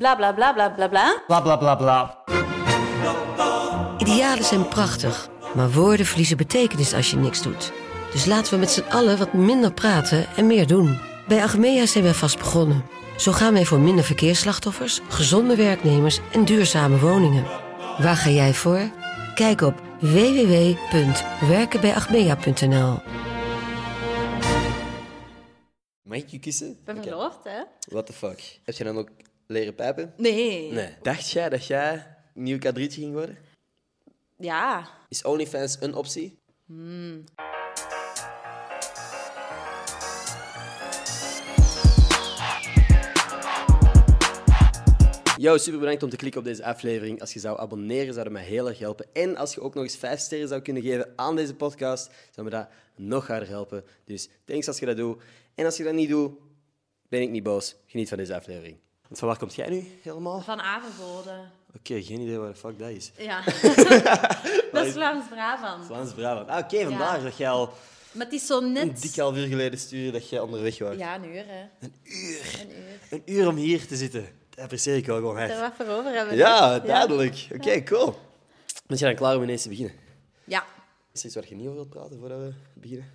Bla bla bla bla bla bla. Bla bla bla bla. Idealen zijn prachtig, maar woorden verliezen betekenis als je niks doet. Dus laten we met z'n allen wat minder praten en meer doen. Bij Agmea zijn wij vast begonnen. Zo gaan wij voor minder verkeersslachtoffers, gezonde werknemers en duurzame woningen. Waar ga jij voor? Kijk op www.werkenbijagmea.nl. Mag ik je kussen? Ik ben Oké. verloofd, hè? What the fuck? Heb je dan ook leren pijpen? Nee. Dacht jij dat jij nieuw kadrietje ging worden? Ja. Is OnlyFans een optie? Hmm. Yo, super bedankt om te klikken op deze aflevering. Als je zou abonneren, zou dat mij heel erg helpen. En als je ook nog eens 5 sterren zou kunnen geven aan deze podcast, zou me dat nog harder helpen. Dus thanks als je dat doet. En als je dat niet doet, ben ik niet boos. Geniet van deze aflevering. Want van waar komt jij nu helemaal? Oké, Van Averboden. geen idee waar de fuck dat is. Ja. dat is Vlaams-Brabant. Vlaams-Brabant. Ah, oké, vandaar Ja. dat jij al Maar het is zo een net... dikke half uur geleden stuurde dat jij onderweg was. Ja, een uur, hè. Een uur om hier te zitten. Dat apprecieer ik wel gewoon Daar echt. wat voor over hebben. Ja, duidelijk. Oké, cool. Ben je dan klaar om ineens te beginnen? Ja. Is er iets waar je niet over wilt praten voordat we beginnen?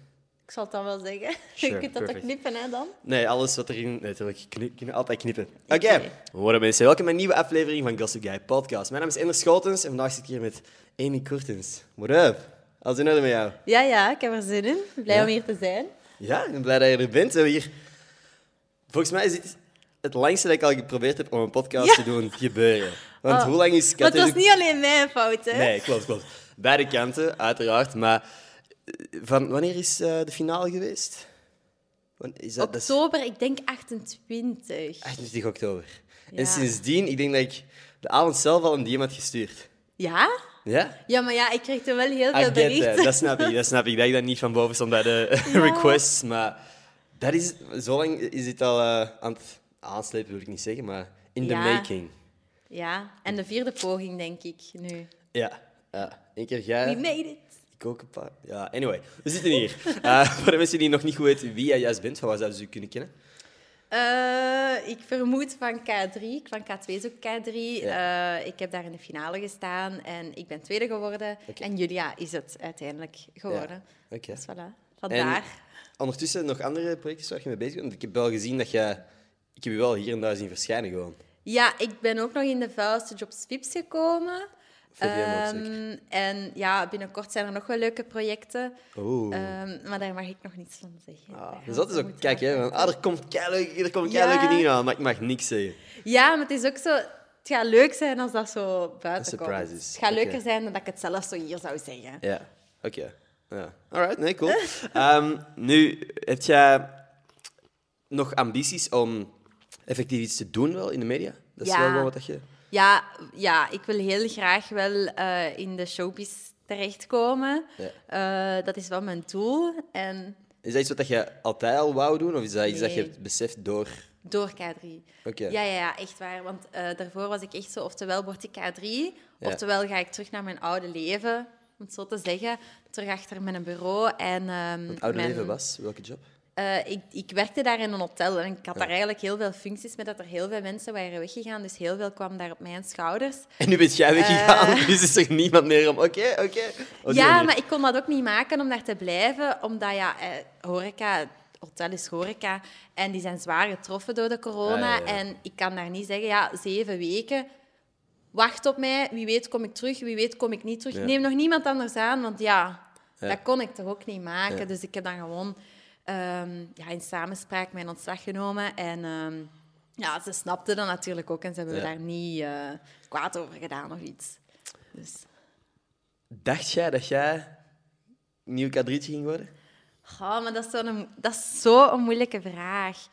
Ik zal het dan wel zeggen. Sure, je kunt dat perfect. toch knippen, hè, dan? Nee, alles wat erin... Nee, natuurlijk. Kni- Kunnen altijd knippen. Oké. Hoi mensen, welkom bij een nieuwe aflevering van Gossip Guy Podcast. Mijn naam is Ender Schotens en vandaag zit ik hier met Amy Kortens. What up? Alles in orde met jou? Ja, ja. Ik heb er zin in. Blij Ja. om hier te zijn. Ja, ik ben blij dat je er bent. We hebben hier... Volgens mij is dit het langste dat ik al geprobeerd heb om een podcast Ja. te doen gebeuren. Want Oh. hoe lang is Maar het was Katholiek- niet alleen mijn fout, hè? Nee, klopt, klopt. Beide kanten, uiteraard. Maar eh, van, wanneer is eh, de finale geweest? Wan- Is dat, dat is Ah, Oktober, ik denk 28. 28 oktober. Ja. En sindsdien, ik denk dat ik de avond zelf al een DM had gestuurd. Ja? Ja? Ja, maar ja, ik kreeg er wel heel I veel get that. berichten. Dat snap ik, dat snap ik. Dat ik dat niet van boven stond bij de requests, maar dat is... Zo lang is dit al eh, aan het aanslepen, wil ik niet zeggen, maar in the Ja. making. Ja, en de vierde poging, denk ik, nu. Ja. Ja. Eén keer jij... We made it. Ik ook een paar. Ja, anyway. We zitten hier. Eh, voor de mensen die nog niet goed weten wie jij juist bent, van waar zouden ze je kunnen kennen? Eh, ik vermoed van K3, ik van K2 is ook K3. Eh, ik heb daar in de finale gestaan en ik ben tweede geworden. Oké. En Julia is het uiteindelijk geworden. Ja, oké. Dus voilà, vandaar. Ondertussen nog andere projectjes waar je mee bezig bent? Want ik heb wel gezien dat jij... Ik heb je wel hier en daar zien verschijnen gewoon. Ja, ik ben ook nog in de vuilste jobs Vips gekomen. VDM ook Ehm, zeker. en ja, binnenkort zijn er nog wel leuke projecten. Oeh. Ehm, maar daar mag ik nog niets van zeggen. Daar Oh. Ah, gaan dus we dat is ook... moeten Kijk, hè. wachten. Van, ah, er komt keileuke, er komt Ja. keileuke dingen aan, maar ik mag niks zeggen. Ja, maar het is ook zo... Het gaat leuk zijn als dat zo buiten Een komt. surprise is. Het gaat Oké. leuker zijn dan dat ik het zelf zo hier zou zeggen. Ja. Oké. Ja. Alright, nee, cool. Ehm, nu, heb jij nog ambities om effectief iets te doen wel in de media? Dat is Ja. wel gewoon wat dat je... Ja, ja ik wil heel graag wel eh, in de showbiz terechtkomen. Eh, dat is wel mijn doel. En Is dat iets wat je altijd al wou doen? Of is dat iets dat je Nee. hebt beseft door... door K3. Oké. Ja, ja, ja, echt waar. Want eh, daarvoor was ik echt zo, oftewel word ik K3, Ja. oftewel ga ik terug naar mijn oude leven, om het zo te zeggen. Terug achter mijn bureau. En, ehm, Het oude mijn- leven was? Welke job? Eh, ik, ik werkte daar in een hotel en ik had daar eigenlijk heel veel functies met dat er heel veel mensen waren weggegaan. Dus heel veel kwam daar op mijn schouders. En nu bent jij weggegaan, dus is er niemand meer om... Oké, oké. Oh, Op die Eh. ja, manier. maar ik kon dat ook niet maken om daar te blijven, omdat ja, eh, horeca, hotel is horeca en die zijn zwaar getroffen door de corona. Ah, ja, ja. En ik kan daar niet zeggen, ja, zeven weken, wacht op mij, wie weet kom ik terug, wie weet kom ik niet terug. Ja. Neem nog niemand anders aan, want ja, Ja. dat kon ik toch ook niet maken. Ja. Dus ik heb dan gewoon ehm, ja, in samenspraak mijn ontslag genomen en... ehm, ja, ze snapten dat natuurlijk ook en ze hebben Ja. me daar niet eh, kwaad over gedaan of iets. Dus. Dacht jij dat jij nieuw kadrietje ging worden? Goh, maar dat is zo'n dat is zo'n moeilijke vraag.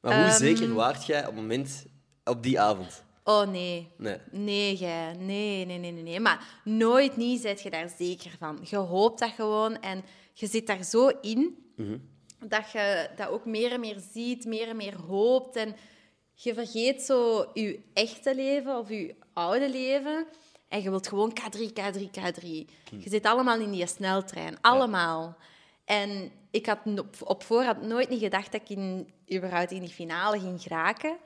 Maar Ehm. hoe zeker waart jij op het moment... Op die avond? Oh nee. Nee. Nee, jij. Nee, nee, nee, nee, nee. Maar nooit niet zet je daar zeker van. Je hoopt dat gewoon en je zit daar zo in dat je dat ook meer en meer ziet, meer en meer hoopt. En je vergeet zo je echte leven of je oude leven. En je wilt gewoon K3, K3, K3. Je zit allemaal in die sneltrein. Allemaal. En ik had n- op, op voorhand nooit niet gedacht dat ik in, überhaupt in die finale ging geraken.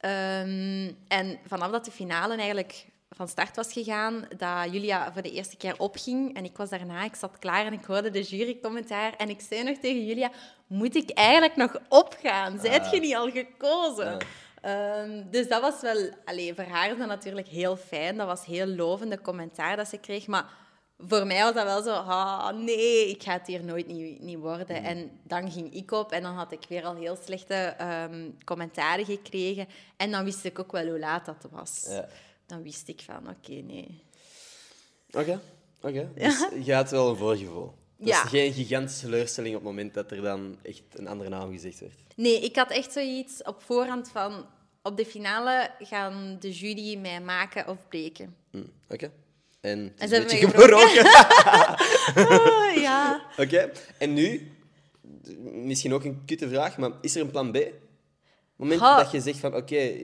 Ehm, en vanaf dat de finale eigenlijk van start was gegaan, dat Julia voor de eerste keer opging en ik was daarna, ik zat klaar en ik hoorde de jurycommentaar en ik zei nog tegen Julia, moet ik eigenlijk nog opgaan? Zijt je niet al gekozen? Ehm, dus dat was wel... Allee, voor haar is dat natuurlijk heel fijn. Dat was heel lovende commentaar dat ze kreeg. Maar voor mij was dat wel zo... Ah, nee, ik ga het hier nooit niet, niet worden. En dan ging ik op en dan had ik weer al heel slechte ehm, commentaren gekregen. En dan wist ik ook wel hoe laat dat was. Ja. Dan wist ik van, oké, nee. Oké, oké. Dus je had wel een voorgevoel. Dus Ja. geen gigantische teleurstelling op het moment dat er dan echt een andere naam gezegd werd. Nee, ik had echt zoiets op voorhand van... Op de finale gaan de jury mij maken of breken. Hm, Oké. En het En is ze een hebben beetje mij gebroken. gebroken. Oh, ja. Oké, en nu, d- misschien ook een kutte vraag, maar is er een plan B? Op het moment Ha. dat je zegt van oké,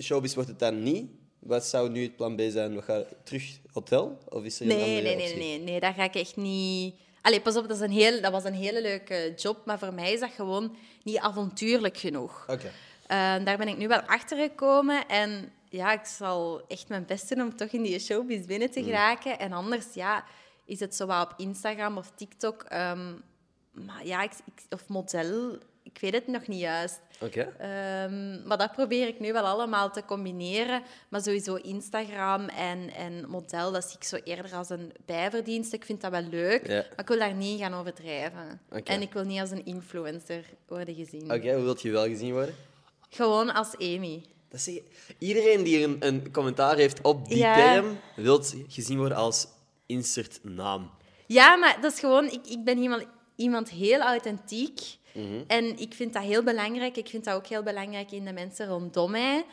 showbiz wordt het dan niet, wat zou nu het plan B zijn? We gaan terug hotel? Of is er een Nee, andere nee, nee, optie? nee, nee, daar ga ik echt niet. Allee, pas op, dat, is een heel, dat was een hele leuke job, maar voor mij is dat gewoon niet avontuurlijk genoeg. Oké. Eh, daar ben ik nu wel achter gekomen en ja, ik zal echt mijn best doen om toch in die showbiz binnen Mm. te geraken. En anders, ja, is het zowel op Instagram of TikTok, ehm, maar ja, ik, ik- of model, ik weet het nog niet juist. Oké. Ehm, maar dat probeer ik nu wel allemaal te combineren. Maar sowieso Instagram en, en model, dat zie ik zo eerder als een bijverdienst. Ik vind dat wel leuk, Ja. maar ik wil daar niet in gaan overdrijven. Oké. En ik wil niet als een influencer worden gezien. Oké, hoe wilt je wel gezien worden? Gewoon als Amy. Dat zeg je- Iedereen die een, een commentaar heeft op die Ja. term, wil gezien worden als insert naam. Ja, maar dat is gewoon... Ik, ik ben iemand, iemand heel authentiek. En ik vind dat heel belangrijk. Ik vind dat ook heel belangrijk in de mensen rondom mij.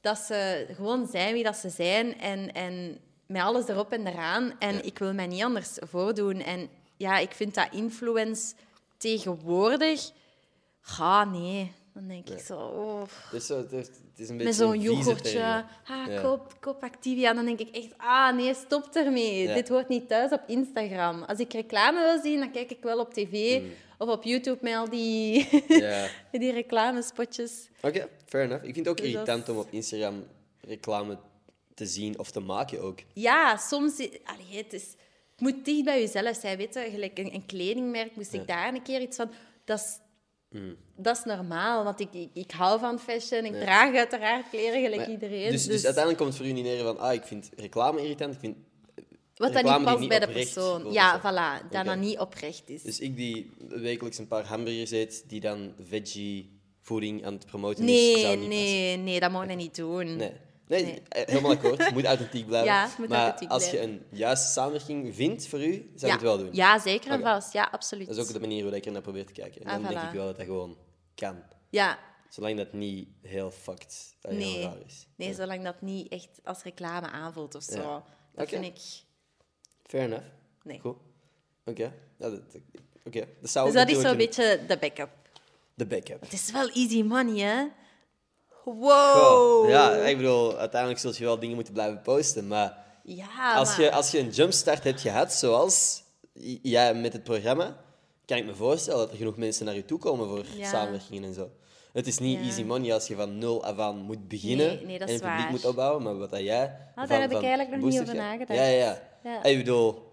Dat ze gewoon zijn wie dat ze zijn. En, en met alles erop en eraan. En ik wil mij niet anders voordoen. En ja, ik vind dat influence tegenwoordig... Ga, nee. Dan denk ik zo... Oh. Dus zo, het, heeft- het is een beetje Met zo'n een vieze yoghurtje. term. Ah, Ja. koop, koop Activia. Dan denk ik echt, ah nee, stop ermee. Ja. Dit hoort niet thuis op Instagram. Als ik reclame wil zien, dan kijk ik wel op tv of op YouTube met al die, Mm. Ja. die reclamespotjes. Oké, fair enough. Ik vind het ook Dus dat is- irritant om op Instagram reclame te zien of te maken ook. Ja, soms... Allee, het, is, het moet dicht bij jezelf zijn. Weet je, gelijk een, een kledingmerk moest ik daar een keer iets van... Dat is, Mm. dat is normaal, want ik, ik, ik hou van fashion. Ik draag uiteraard kleren gelijk Maar- iedereen. dus, dus dus- uiteindelijk komt het voor u niet neer van, ah, ik vind reclame irritant. Ik vind... Wat dan reclame niet die past niet bij de oprecht persoon. voelt Ja, of zo. voilà. Dat Oké. dat niet oprecht is. Dus ik die wekelijks een paar hamburgers eet, die dan veggie voeding aan het promoten is, nee, zou niet passen. nee, nee, dat mogen we niet doen. Nee. Nee, eh, helemaal akkoord. Het moet authentiek blijven. Ja, het moet maar authentiek als blijven. je een juiste samenwerking vindt voor u, zou je ja. het wel doen. Ja, zeker en Oké. vast. Ja, absoluut. Dat is ook de manier waarop ik er naar probeer te kijken. En Ah, dan denk voilà. ik wel dat dat gewoon kan. Ja, Zolang dat niet heel fucked, dat heel nee. raar is. Nee, zolang dat niet echt als reclame aanvoelt of zo. Ja. Dat Oké. vind ik... Fair enough. Nee. Goed. Oké. Ja, dat, oké. dat zou Dus ook dat is natuurlijk zo'n een- beetje de backup. De backup. Het is wel easy money, hè? Wow! Oh. Goh. Ja, ik bedoel, uiteindelijk zul je wel dingen moeten blijven posten, maar... Ja, Als Ah, maar- je, als je een jumpstart hebt gehad, zoals j- jij met het programma, kan ik me voorstellen dat er genoeg mensen naar je toe komen voor Ja. samenwerkingen en zo. Het is niet Ja. easy money als je van nul af aan moet beginnen Nee, nee, dat en is het publiek waar. Ah, moet opbouwen, maar wat dat jij... daar heb ik eigenlijk nog niet boostert, over ja. nagedacht. Ja, ja, ja. Ja. En Ik bedoel,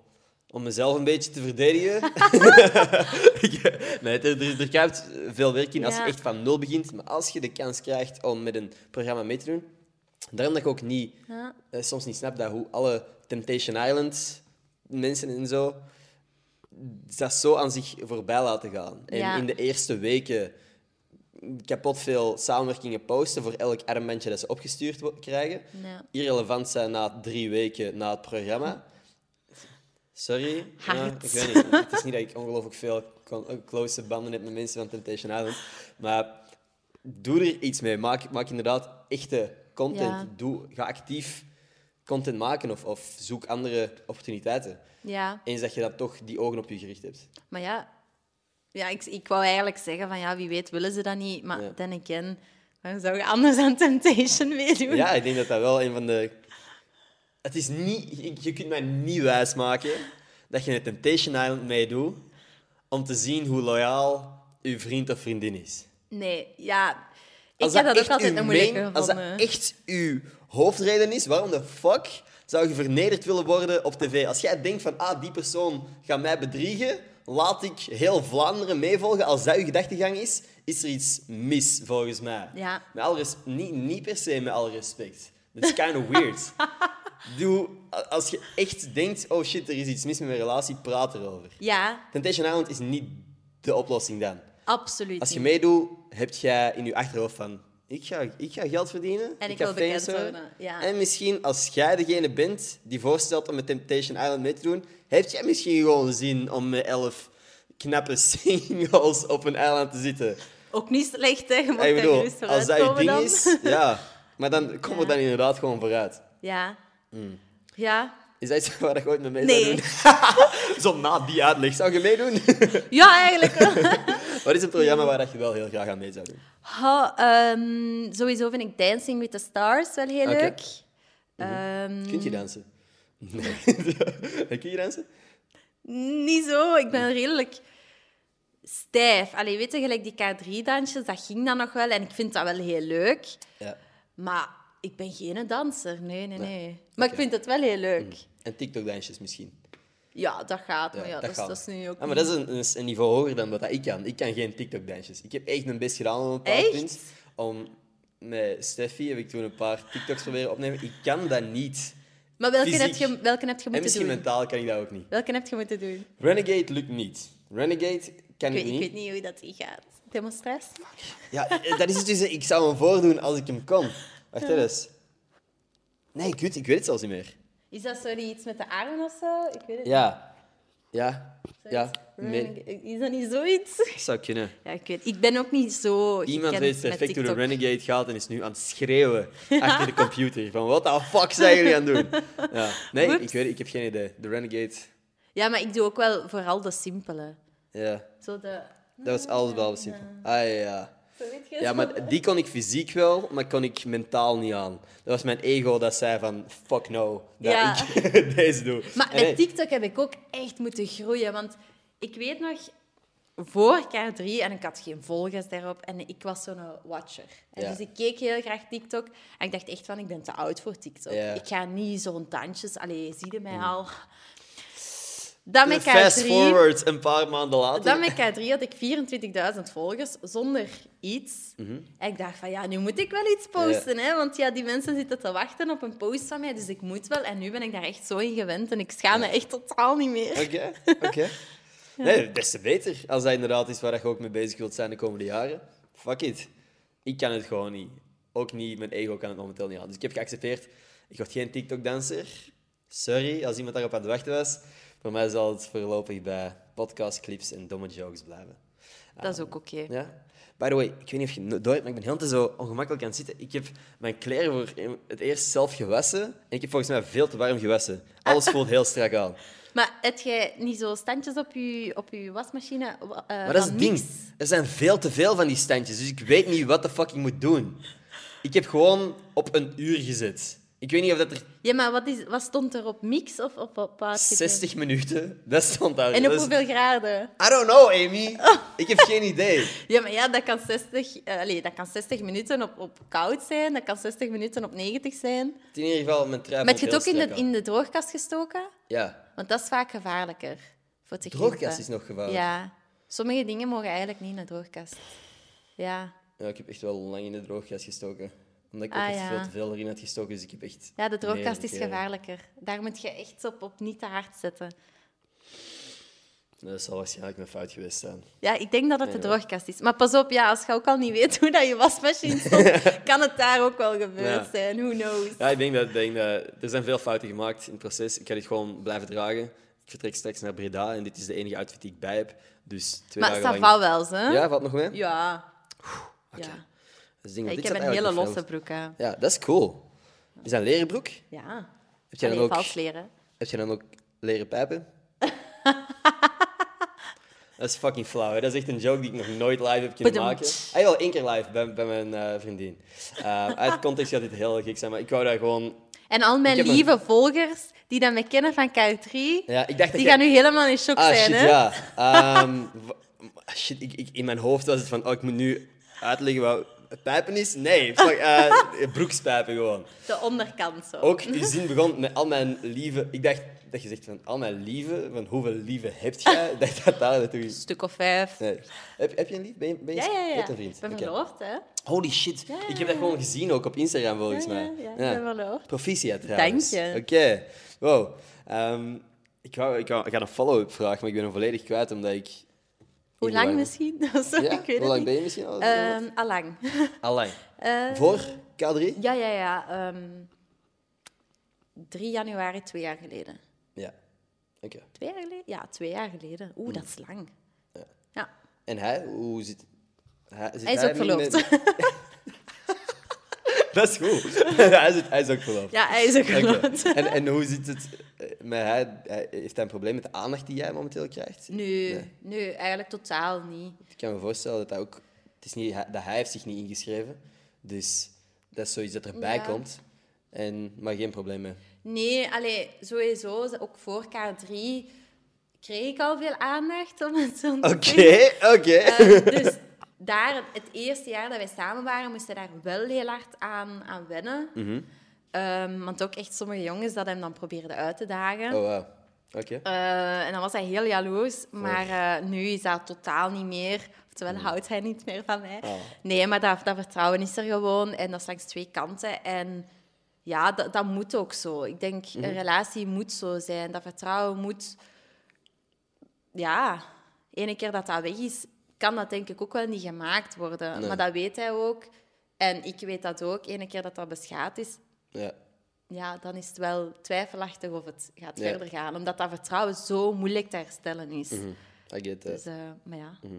om mezelf een beetje te verdedigen... Ik- eh, nee, er, er, er kruipt veel werk in als je Ja. echt van nul begint, maar als je de kans krijgt om met een programma mee te doen, daarom dat ik ook niet Ja. eh, soms niet snap dat hoe alle Temptation Island mensen en zo dat zo aan zich voorbij laten gaan. En Ja. in de eerste weken kapot veel samenwerkingen posten voor elk armbandje dat ze opgestuurd wo- krijgen. Ja. Irrelevant zijn na drie weken na het programma. Sorry. ja, Hard. ik weet niet. Het is niet dat ik ongelooflijk veel con- close banden heb met mensen van Temptation Island. Maar doe er iets mee. Maak, maak inderdaad echte content. Ja. Doe, ga actief content maken of, of zoek andere opportuniteiten. ja. Eens dat je dan toch die ogen op je gericht hebt. Maar ja, ja ik, ik wou eigenlijk zeggen van ja, wie weet willen ze dat niet. Maar Ja. dan again, waarom zou je anders aan Temptation meedoen? Ja, ik denk dat dat wel een van de... Het is niet... je- Je kunt mij niet wijsmaken dat je een Temptation Island meedoet om te zien hoe loyaal je vriend of vriendin is. Nee, ja. Ik heb dat ook echt altijd uw een moeilijke main- Als dat gevonden. echt uw hoofdreden is, waarom de fuck zou je vernederd willen worden op tv? Als jij denkt van, ah, die persoon gaat mij bedriegen, laat ik heel Vlaanderen meevolgen. Als dat uw gedachtegang is, is er iets mis, volgens mij. Ja. Met alle res- niet, niet per se met alle respect. Dat is kind of weird. Doe, a- als je echt denkt, oh shit, er is iets mis met mijn relatie, praat erover. Ja, Temptation Island is niet de oplossing dan. absoluut. Als je niet. meedoet, heb jij in je achterhoofd van... Ik ga, ik ga geld verdienen. En ik ga wil bekend famous worden, ja. En misschien, als jij degene bent die voorstelt om met Temptation Island mee te doen... Heb jij misschien gewoon zin om met elf knappe singles op een eiland te zitten? Ook niet slecht, hè? Je mag ik daar bedoel, gerust als dat je vooruitkomen ding dan. is... Ja. Maar dan kom er dan inderdaad gewoon vooruit. Ja. Ja. Hmm. Is dat iets waar ik ooit mee mee zou Nee. doen? Zo na die uitleg. Zou je meedoen? Ja, eigenlijk wel. Wat is een programma waar dat je wel heel graag aan mee zou doen? Ha, ehm, sowieso vind ik Dancing with the Stars wel heel Oké. leuk. Ehm, Kunt je dansen? Mm. Nee. Kun je dansen? Niet zo. Ik Hmm. ben redelijk stijf. Allee, weet je, gelijk die K3-dansjes, dat ging dan nog wel. En ik vind dat wel heel leuk. Ja. Maar ik ben geen danser. Nee, nee, nee. Maar ik Oké. Hmm. vind het wel heel leuk. En TikTok-dansjes misschien. Ja, dat gaat. Ja, maar Oh ja, dat, is- gaat. dat is nu ook... Ah, maar dat is een, dat is een niveau hoger dan wat ik kan. Ik kan geen TikTok-dansjes. Ik heb echt mijn best gedaan op een bepaald Echt? punt. Om, met Steffi heb ik toen een paar TikToks proberen opnemen. Ik kan dat niet. Maar welke fysiek. heb, je, welke heb je En moeten misschien doen? mentaal kan ik dat ook niet. Welke heb je moeten doen? Renegade lukt niet. Renegade kan Ik ik weet, ik niet. weet niet hoe dat die gaat. Demonstratie? Ja, eh, dat is het dus. hè. Ik zou hem voordoen als ik hem kon. Wacht hè, dus. Nee, kut, ik weet het zelfs niet meer. Is dat zo die iets met de armen of zo? Ik weet het Ja. Ja. niet. Ja. Running- Nee, Is dat niet zoiets? zou kunnen. Ja, ik weet Ik ben ook niet zo gekend Iemand weet perfect met hoe de TikTok. Renegade gaat en is nu aan het schreeuwen achter de computer. Van, wat the fuck zijn jullie aan het doen? Ja. Nee, Whoops. ik weet ik heb geen idee. De Renegade, Ja, maar ik doe ook wel vooral de simpele. ja. Zo de... Dat was alles behalve simpel. Ah ja. Zo weet je Ja, zo. maar die kon ik fysiek wel, maar kon ik mentaal niet aan. Dat was mijn ego dat zei van, fuck no, dat Ja. ik deze doe. Maar En nee, met TikTok heb ik ook echt moeten groeien. Want ik weet nog, voor K3, en ik had geen volgers daarop, en ik was zo'n watcher. En Ja. Dus ik keek heel graag TikTok. En ik dacht echt van, ik ben te oud voor TikTok. Ja. Mm. Ik ga niet zo'n dansjes... Allee, zie je mij al? Dan met fast K3... forward een paar maanden later. Dan met K3 had ik 24.000 volgers zonder iets. Mhm. En ik dacht van ja, nu moet ik wel iets posten. Hè? Want ja, die mensen zitten te wachten op een post van mij. Dus ik moet wel. En nu ben ik daar echt zo in gewend. En ik schaam me echt totaal niet meer. Oké, oké. Nee, des te beter. Als dat inderdaad is waar je ook mee bezig wilt zijn de komende jaren. Fuck it. Ik kan het gewoon niet. Ook niet, mijn ego kan het momenteel niet aan. Dus ik heb geaccepteerd, ik word geen TikTok-danser. Sorry, als iemand daarop aan het wachten was. Voor mij zal het voorlopig bij podcastclips en domme jokes blijven. Dat is ook oké. Ja? By the way, ik weet niet of je het door hebt, maar ik ben heel de tijd zo ongemakkelijk aan het zitten. Ik heb mijn kleren voor het eerst zelf gewassen. En ik heb volgens mij veel te warm gewassen. Alles voelt heel strak aan. Maar heb jij niet zo standjes op je, op je wasmachine? eh, Maar dat is van het ding. niks? Er zijn veel te veel van die standjes, dus ik weet niet wat de fuck ik moet doen. Ik heb gewoon op een uur gezet. Ik weet niet of dat er Ja, maar wat, is, wat stond er op mix of op, op wat? 60 minuten... Dat stond daar. En op Dat is- hoeveel Oh. graden? I don't know, Amy. Ik heb geen idee. Ja, maar ja, dat kan 60, eh, allee, dat kan 60 minuten op, op koud zijn. Dat kan 60 minuten op 90 zijn. In ieder geval, mijn trui Met je vond het ook in heel de, strak aan. in de droogkast gestoken? Ja. Want dat is vaak gevaarlijker voor te krimpen. Droogkast is nog gevaarlijk. Ja. Ja. Sommige dingen mogen eigenlijk niet in de droogkast. Ja. Ik heb echt wel lang in de droogkast gestoken. Omdat ik ook Ah, echt ja. veel te veel erin had gestoken, dus ik heb echt... Ja, de droogkast meerdere is keren- gevaarlijker. Daar moet je echt op, op niet te hard zetten. Nee, Dat zal waarschijnlijk mijn fout geweest zijn. Ja, ik denk dat het de droogkast is. Maar pas op, ja, als je ook al niet weet hoe dat je wasmachine stond, kan het daar ook wel gebeurd Ja. zijn. Who knows? Ja, ik denk dat, ik denk dat er zijn veel fouten gemaakt in het proces. Ik ga dit gewoon blijven dragen. Ik vertrek straks naar Breda en dit is de enige outfit die ik bij heb. Dus twee maar dagen dat lang... valt wel, hè? Ja, wat nog mee? Dus Dat Ja. Ja. is het ding, want Ik heb dit een zat hele eigenlijk nog losse veel- broek aan. Ja, dat is cool. Is dat een leren broek? Ja. Heb je dan, Allee, ook, vals leren. heb je dan ook leren pijpen? dat is fucking flauw. Hè? Dat is echt een joke die ik nog nooit live heb kunnen Badum. maken. Ah, wel één keer live bij, bij mijn eh, vriendin. Eh, uit context gaat dit heel gek zijn, maar ik wou daar gewoon En al mijn Ik heb een- lieve volgers die dat me kennen van K3, Ja, ik dacht dat die jij- gaan nu helemaal in shock Ah, zijn. shit, hè? ja. Ehm, w- ah, shit, ik, ik, in mijn hoofd was het van, oh, ik moet nu uitleggen wat Pijpen is? Nee, fuck, eh, broekspijpen gewoon. De onderkant zo. Ook je zin begon met al mijn lieve... Ik dacht dat je zegt van al mijn lieve, van hoeveel lieve heb jij? Ik dacht dat daar naartoe Een is. stuk of vijf. Nee. Heb, heb je een lief? Ben je, ben je, Ja, ja, ja. je hebt een vriend? Ik ben Oké. verloofd, hè. Holy shit. Ja. Ik heb dat gewoon gezien ook op Instagram, volgens Ja, ja, mij. ja. Ik ben wel hoor. Proficiat, trouwens. Dank je. Oké. Wow. Ehm, ik, wou, ik, wou- ik had een follow-up vraag, maar ik ben hem volledig kwijt, omdat ik... Hoe lang misschien? Zo, Ja? ik weet Hoe het lang niet. ben je misschien al? Ehm, allang. Allang. Eh, Voor K3? ja, ja, ja. ehm, 3 januari, twee jaar geleden. Ja. Oké. Twee jaar geleden? Ja, twee jaar geleden. Oeh, dat is lang. Ja. En hij? Hoe zit... Hij, zit Hij is ook niet verloofd. met- Dat is goed. hij, zit, hij is ook verloofd. Ja, hij is ook Oké. verloofd. En, en hoe zit het... eh, Met hij, hij- heeft hij een probleem met de aandacht die jij momenteel krijgt? Nee, nee, eigenlijk totaal niet. Ik kan me voorstellen dat hij ook... Het is niet, dat hij heeft zich niet ingeschreven. Dus dat is zoiets dat erbij Ja. komt. En, maar geen probleem mee. Nee, allee, sowieso, ze- ook voor K3 kreeg ik al veel aandacht, om het zo te Oké, zeggen. oké. Eh, dus daar, het eerste jaar dat wij samen waren, moesten daar wel heel hard aan, aan wennen. Ehm, want ook echt sommige jongens dat hem dan probeerden uit te dagen. Oh, wow. Oké. Eh, en dan was hij heel jaloers, maar eh, nu is dat totaal niet meer. Oftewel houdt hij niet meer van mij. Nee, maar dat, dat vertrouwen is er gewoon en dat is langs twee kanten. En ja, dat, dat moet ook zo. Ik denk, een relatie moet zo zijn. Dat vertrouwen moet... Ja, ene keer dat dat weg is, kan dat denk ik ook wel niet gemaakt worden. Maar dat weet hij ook. En ik weet dat ook. Ene keer dat dat beschadigd is, Ja. ja, dan is het wel twijfelachtig of het gaat Ja. Mhm. verder gaan. Omdat dat vertrouwen zo moeilijk te herstellen is. I get that. Dus, eh, maar ja. Mhm.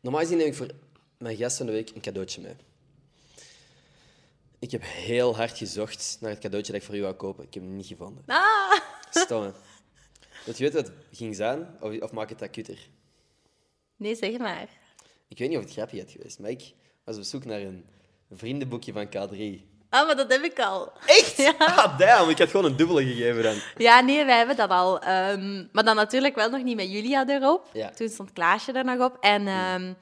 Normaal gezien neem ik voor mijn gast van de week een cadeautje mee. Ik heb heel hard gezocht naar het cadeautje dat ik voor u wou kopen. Ik heb hem niet gevonden. Ah! Stom, hè? Dat je weet wat het ging zijn, of, of maak het dat kutter? Nee, zeg maar. Ik weet niet of het grappig had geweest, maar ik was op zoek naar een vriendenboekje van K3. Ah, maar dat heb ik al. Echt? Ja. Ah, damn. Ik had gewoon een dubbele gegeven dan. Ja, nee, wij hebben dat al. Ehm, maar dan natuurlijk wel nog niet met Julia erop. Ja. Mhm. Toen stond Klaasje er nog op. En ehm,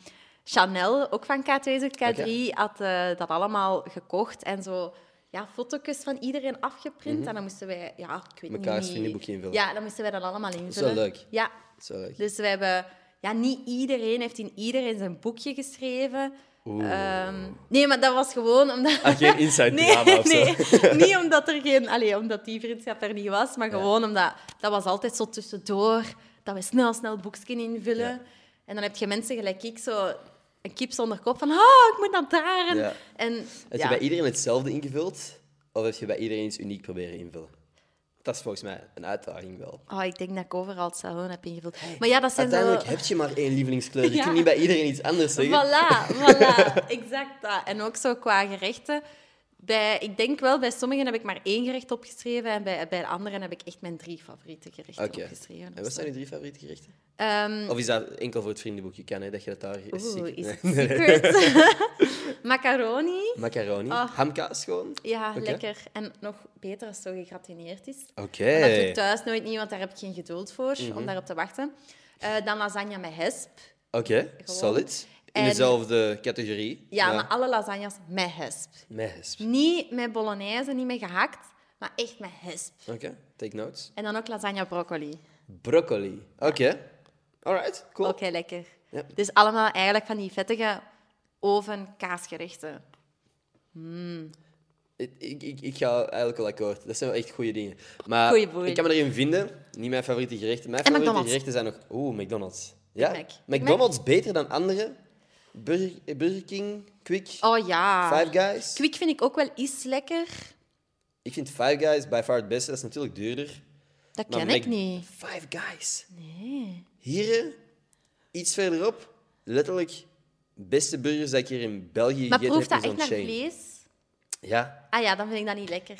Chanel, ook van K2 zoekt K3, had eh, dat allemaal gekocht. En zo ja, foto's van iedereen afgeprint. Mhm. En dan moesten wij... Ja, ik weet Mekaars niet... vriendenboekje invullen. Ja, dan moesten wij dat allemaal invullen. wel leuk. Ja, Zo leuk. Dus we hebben... Ja, niet iedereen heeft in iedereen zijn boekje geschreven. Ehm, nee, maar dat was gewoon omdat... Ah, geen inside nee, drama of zo. nee, niet omdat er geen... Allee, omdat die vriendschap er niet was, maar gewoon omdat... Dat was altijd zo tussendoor, dat we snel, snel boekjes invullen. Ja. En dan heb je mensen gelijk ik, zo een kip zonder kop van... Ah, ik moet naar daar. En, Ja. en, Heb ja. je bij iedereen hetzelfde ingevuld? Of heb je bij iedereen iets uniek proberen invullen? Dat is volgens mij een uitdaging wel. Oh, ik denk dat ik overal hetzelfde heb ingevuld. Maar ja, dat zijn zo- Uiteindelijk heb je maar één lievelingskleur. Je Ja. kunt niet bij iedereen iets anders zeggen. Voilà, voilà, exact dat. En ook zo qua gerechten. Bij, ik denk wel, bij sommigen heb ik maar één gerecht opgeschreven en bij, bij de anderen heb ik echt mijn drie favoriete gerechten Oké. opgeschreven. Dus, En wat zijn je drie favoriete gerechten? Ehm, Of is dat enkel voor het vriendenboekje? Kan hè, dat je dat daar Oeh, ziek- is Nee. het secret? Macaroni. Macaroni, Oh. hamkaas gewoon. Ja, Oké. lekker. En nog beter als het zo gegratineerd is. Oké. Maar Dat doe ik thuis nooit niet, want daar heb ik geen geduld voor, Mhm. om daarop te wachten. Eh, dan lasagne met hesp. Oké, solid. In En- dezelfde categorie. Ja, maar alle lasagnes met hesp. Met hesp. Niet met bolognese, niet met gehakt, maar echt met hesp. Oké, take notes. En dan ook lasagne broccoli. Broccoli. Oké. Alright, cool. Ook heel lekker. Ja. Dus allemaal eigenlijk van die vettige oven kaasgerechten. Ik, ik, ik- ik ga eigenlijk wel akkoord. Dat zijn wel echt goede dingen. Maar Goeie boei. ik kan me erin vinden. Niet mijn favoriete gerechten. En Mijn favoriete McDonald's. gerechten zijn nog... Oeh, McDonald's. Ja? Mac. McDonald's beter dan andere? Burger, eh, Burger King, Quick, Oh ja. Five Guys? Kwik vind ik ook wel iets lekker. Ik vind Five Guys by far het beste. Dat is natuurlijk duurder. Dat Maar ken ik Mac- niet. Five Guys? Nee. Hier, eh, iets verderop, letterlijk beste burgers dat ik hier in België Maar gegeten proeft heb. dat is echt on naar chain. vlees? Ja, Ah ja, dan vind ik dat niet lekker.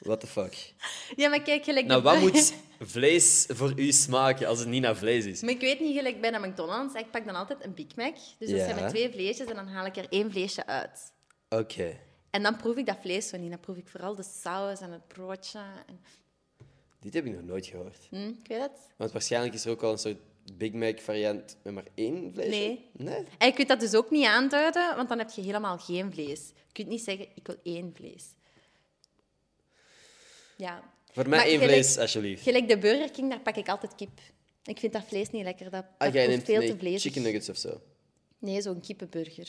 what the fuck. Ja, maar kijk, gelijk... Nou, de wat burger- moet vlees voor u smaken als het niet naar vlees is? Maar ik weet niet, gelijk bij een McDonald's, ik pak dan altijd een Big Mac. Dus dat Ja. zijn met twee vleesjes en dan haal ik er één vleesje uit. Oké. En dan proef ik dat vlees zo niet. Dan proef ik vooral de saus en het broodje. En... Dit heb ik nog nooit gehoord. Hm, ik weet het. Want waarschijnlijk is er ook al een soort Big Mac variant nummer één vleesje? Nee. Nee? En je kunt dat dus ook niet aanduiden, want dan heb je helemaal geen vlees. Je kunt niet zeggen, ik wil één vlees. Ja. Voor mij Maar één gelijk- vlees, alsjeblieft. Gelijk de Burger King, daar pak ik altijd kip. Ik vind dat vlees niet lekker. Dat, dat Ah, jij proeft neemt veel nee, te vlees. chicken nuggets of zo. Oké. Nee, zo'n kippenburger.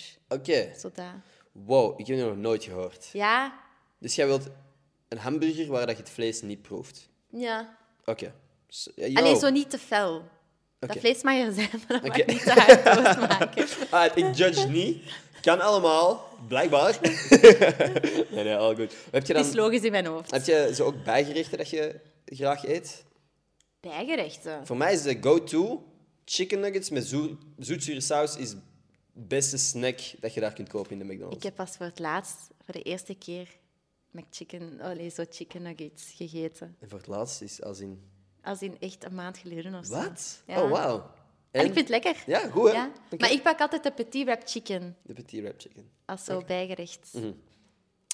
Zo dat. Wow, ik heb die nog nooit gehoord. Ja, Dus jij wilt een hamburger waar dat je het vlees niet proeft? ja. Oké. So- ja, yo. Alleen zo niet te fel. Dat Oké. vlees mag er zijn, maar dat Oké. mag niet te hard maken. Ah, ik judge niet. Kan allemaal, blijkbaar. nee, nee, al goed. Heb je Dat is dan logisch in mijn hoofd. heb je zo ook bijgerechten dat je graag eet? Bijgerechten. Voor mij is de go-to chicken nuggets met zoet, zoetzure saus is het beste snack dat je daar kunt kopen in de McDonald's. Ik heb pas voor het laatst, voor de eerste keer, McChicken, oh nee, zo chicken nuggets gegeten. En voor het laatst is als in... Als in echt een maand geleden of zo. Wat? Ja. Oh, wauw. En, ik vind het lekker. Ja, goed, hè? Ja. Oké. Maar ik pak altijd de petit wrap chicken De petit wrap chicken. als zo bijgerecht. Mhm.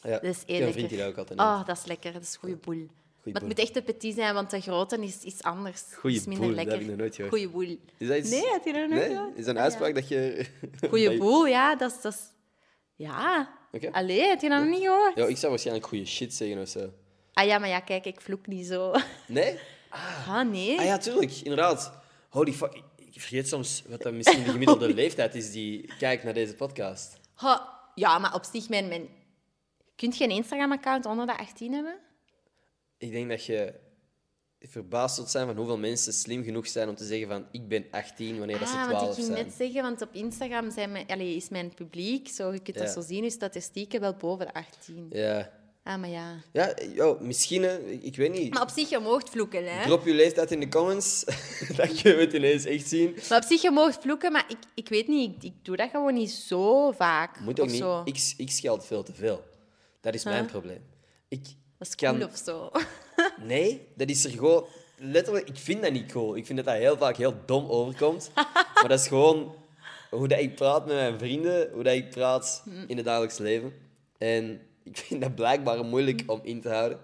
Ja, Dat is ik heb eerlijk. een vriend die dat ook altijd Oh, dat is lekker. Dat is goede boel. maar het boel. moet echt een petit zijn, want de grote is iets anders. Goeie is minder boel, dat lekker. heb ik nog nooit gehoord. Goeie boel. Is dat iets- Nee, had je dat nog nooit Nee? gehoord? Is dat een Ah, ja. uitspraak dat je... dat Goeie je- boel, ja. Dat is... Dat is... Ja. Oké. Allee, had je dat nog niet gehoord? Ja, ik zou waarschijnlijk goede shit zeggen of zo. Ah ja, maar ja, kijk, ik vloek niet zo. Nee? Ah, nee. Ah ja, tuurlijk. Inderdaad. Holy fuck. Ik- Ik vergeet soms wat dan misschien de gemiddelde leeftijd is die kijkt naar deze podcast. Ha, ja, maar op zich, mijn... mijn... Kun je een Instagram-account onder de 18 hebben? Ik denk dat je verbaasd zult zijn van hoeveel mensen slim genoeg zijn om te zeggen van ik ben 18 wanneer dat ze ah, want 12 ik ging zijn. net zeggen, want op Instagram zijn mijn, allee, is mijn publiek, zo, je kunt Ja. dat zo zien, je statistieken wel boven de 18. Ja, Ah, maar ja. ja yo, misschien, hè. ik ik weet niet. Maar op zich, je moogt vloeken, hè? Drop je leeftijd in de comments. dan kunnen we het ineens echt zien. Maar op zich, je moogt vloeken, maar ik, ik weet niet, ik, ik doe dat gewoon niet zo vaak. Moet ook of zo. niet. Ik, ik scheld veel te veel. Dat is mijn probleem. Ik Dat is cool kan of zo. Nee, dat is er gewoon... Letterlijk, ik vind dat niet cool. Ik vind dat dat heel vaak heel dom overkomt. maar dat is gewoon hoe dat ik praat met mijn vrienden, hoe dat ik praat in het dagelijks leven. En ik vind dat blijkbaar moeilijk om in te houden.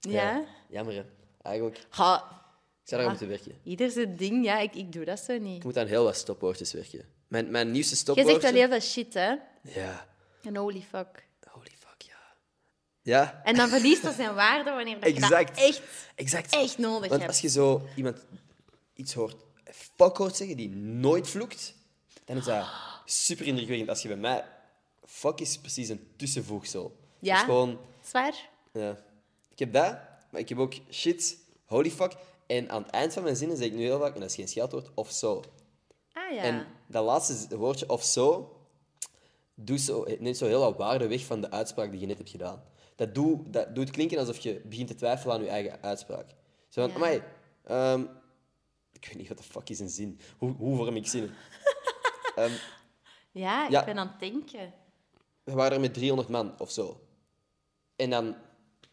Ja? Ah. Jammer, hè. eigenlijk. Ik Ha, zou daar aan Ja. moeten werken. ieder zijn ding, ja, ik, ik doe dat zo niet. Ik moet aan heel wat stopwoordjes werken. Mijn, mijn nieuwste Je stopwoordje... zegt wel heel veel shit, hè? Ja. En holy fuck. Holy fuck, ja. Ja, En dan verliest dat zijn waarde wanneer dat Exact. je dat echt... exact. echt nodig Want hebt. als je zo iemand iets hoort, fuck hoort zeggen, die nooit vloekt, dan is dat super indrukwekkend. Als je bij mij... Fuck is precies een tussenvoegsel. Ja. Dat is gewoon... Zwaar? Ja. Ik heb dat, maar ik heb ook shit, holy fuck. En aan het eind van mijn zinnen zeg ik nu heel vaak, en dat is geen scheldwoord, of zo. Ah ja. En dat laatste woordje, of zo, doet zo, het neemt zo heel wat waarde weg van de uitspraak die je net hebt gedaan. Dat, doe, dat doet klinken alsof je begint te twijfelen aan je eigen uitspraak. Zo van, Ja. amai, ehm, ik weet niet wat de fuck is een zin. Hoe, hoe vorm ik zinnen? Ja, ik ja. ben aan het denken. We waren er met 300 man, of zo. En dan...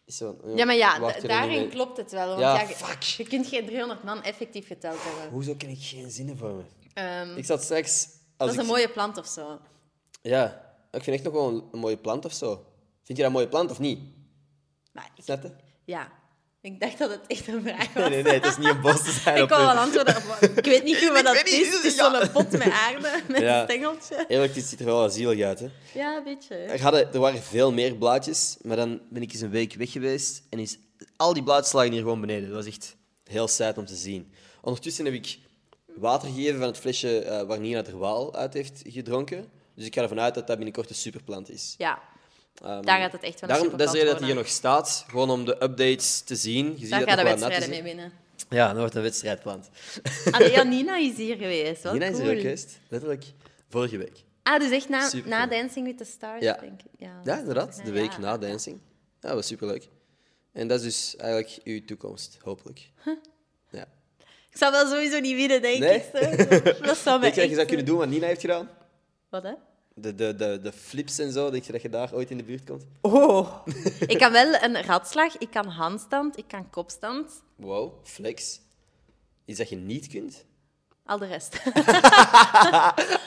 is zo van, Ja, maar ja, wacht da- even, nee, daarin nee. klopt het wel. Want Ja, ja, je- fuck. Je kunt geen 300 man effectief geteld hebben. Hoezo ken ik geen zinnen voor me? Ehm, Ik zat straks... Als dat is ik- een mooie plant of zo. Ja, ik vind echt nog wel een, een mooie plant of zo. Vind je dat een mooie plant of niet? Maar ik- Snap je? ja, ik dacht dat het echt een vraag was. Nee, nee, nee, het is niet een bos te zijn. Ik op kan een- wel antwoorden op. wat- Ik weet niet goed wat dat weet niet, is. Het is ja. zo'n pot met aarde, met Ja. een stengeltje. Eerlijk, dit ziet er wel wat zielig uit. Hè? Ja, een beetje. Er, hadden, er waren veel meer blaadjes, maar dan ben ik eens een week weg geweest en is, al die blaadjes lagen hier gewoon beneden. Dat was echt heel saai om te zien. Ondertussen heb ik water gegeven van het flesje eh, waar Nina de Waal uit heeft gedronken. Dus ik ga ervan uit dat dat binnenkort een superplant is. Ja, Ehm, daar gaat het echt wel een Daarom, dat is de superplant reden dat hij hier worden. nog staat, gewoon om de updates te zien. Je ziet Daar dat gaan de nog wat nat wedstrijden is, mee hè? winnen. Ja, dan wordt een wedstrijdplant. Allee, ja, Nina is hier geweest. Wel Nina is cool. er ook geweest, letterlijk vorige week. Ah, dus echt na, Supercool. na Dancing with the Stars, Ja. denk ik. Ja, Ja, inderdaad. De week ja. na dancing. Ja, dat was superleuk. En dat is dus eigenlijk uw toekomst, hopelijk. Ja. Ik zou wel sowieso niet winnen, denk Nee? ik. zo. Dat zou mij Denk je dat je echt, zou kunnen doen wat Nina heeft gedaan? Wat, hè? De, de, de, de flips en zo, denk je dat je daar ooit in de buurt komt? Oh. ik kan wel een ratslag, ik kan handstand, ik kan kopstand. Wow, flex. Iets dat je niet kunt? Al de rest.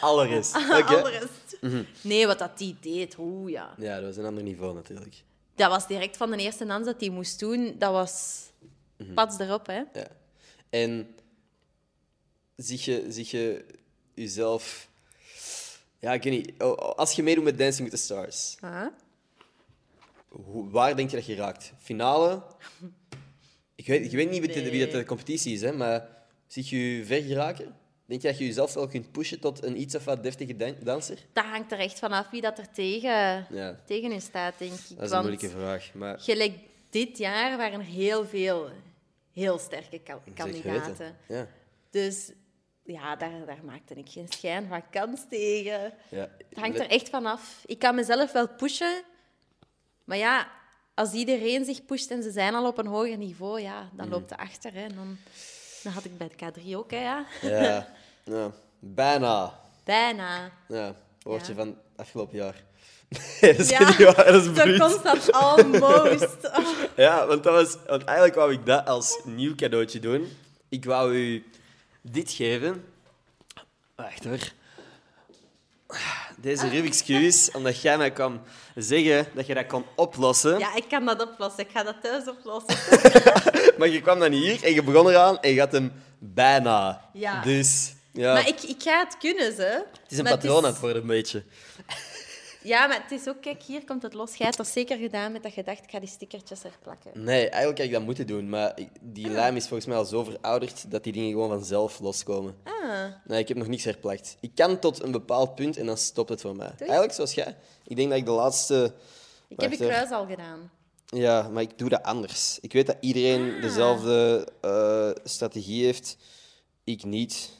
Alle rest. Al de Oké. rest. Mhm. Nee, wat dat die deed, oeh ja. Ja, dat was een ander niveau natuurlijk. Dat was direct van de eerste dans dat hij moest Mhm. doen. Dat was pats erop, hè. Ja. En zich je, zich je jezelf... Ja, ik weet niet. O- o- Als je meedoet met Dancing with the Stars, Huh? hoe- waar denk je dat je raakt? Finale? Ik weet, ik weet niet wie de- wie dat de competitie is, hè, maar zie je ver geraken? Denk je dat je jezelf wel kunt pushen tot een iets of wat deftige dan- danser? Dat hangt er echt vanaf wie dat er tegen, Ja. tegen u staat, denk ik. Dat is een Want moeilijke vraag. Maar gelijk dit jaar waren er heel veel heel sterke ka- Zeker kandidaten. weten. Ja. Dus ja, daar, daar maakte ik geen schijn van kans tegen. Ja. Het hangt er echt vanaf. Ik kan mezelf wel pushen, maar ja, als iedereen zich pusht en ze zijn al op een hoger niveau, ja, Mhm. dan loopt het achter. Hè. En Dan, dan had ik bij de K3 ook, hè, ja. Ja. ja. Bijna. Bijna. Ja. Woordje Ja. van afgelopen jaar. Nee, dat is Ja, niet waar, dat is Zo bruut. constant almost. Oh. Ja, want, dat was, want eigenlijk wou ik dat als nieuw cadeautje doen. Ik wou u dit geven. Wacht hoor. Deze Ah. Rubik's Cube is omdat jij mij kwam zeggen dat je dat kon oplossen. Ja, ik kan dat oplossen. Ik ga dat thuis oplossen. Maar je kwam dan hier en je begon eraan en je had hem bijna. Ja. Dus ja, Maar ik, ik ga het kunnen, ze. het is een Maar patroon aan het worden, een beetje. Ja, maar het is ook... Kijk, hier komt het los. Jij hebt dat zeker gedaan met dat je dacht, ik ga die stickertjes er plakken. Nee, eigenlijk had ik dat moeten doen, maar ik- die lijm is volgens mij al zo verouderd dat die dingen gewoon vanzelf loskomen. Ah, Nee, ik heb nog niks herplakt. Ik kan tot een bepaald punt en dan stopt het voor mij. Eigenlijk zoals jij. Ik denk dat ik de laatste... ik heb je Wacht, hè. kruis al gedaan. Ja, maar ik doe dat anders. Ik weet dat iedereen dezelfde eh, strategie heeft. Ik niet,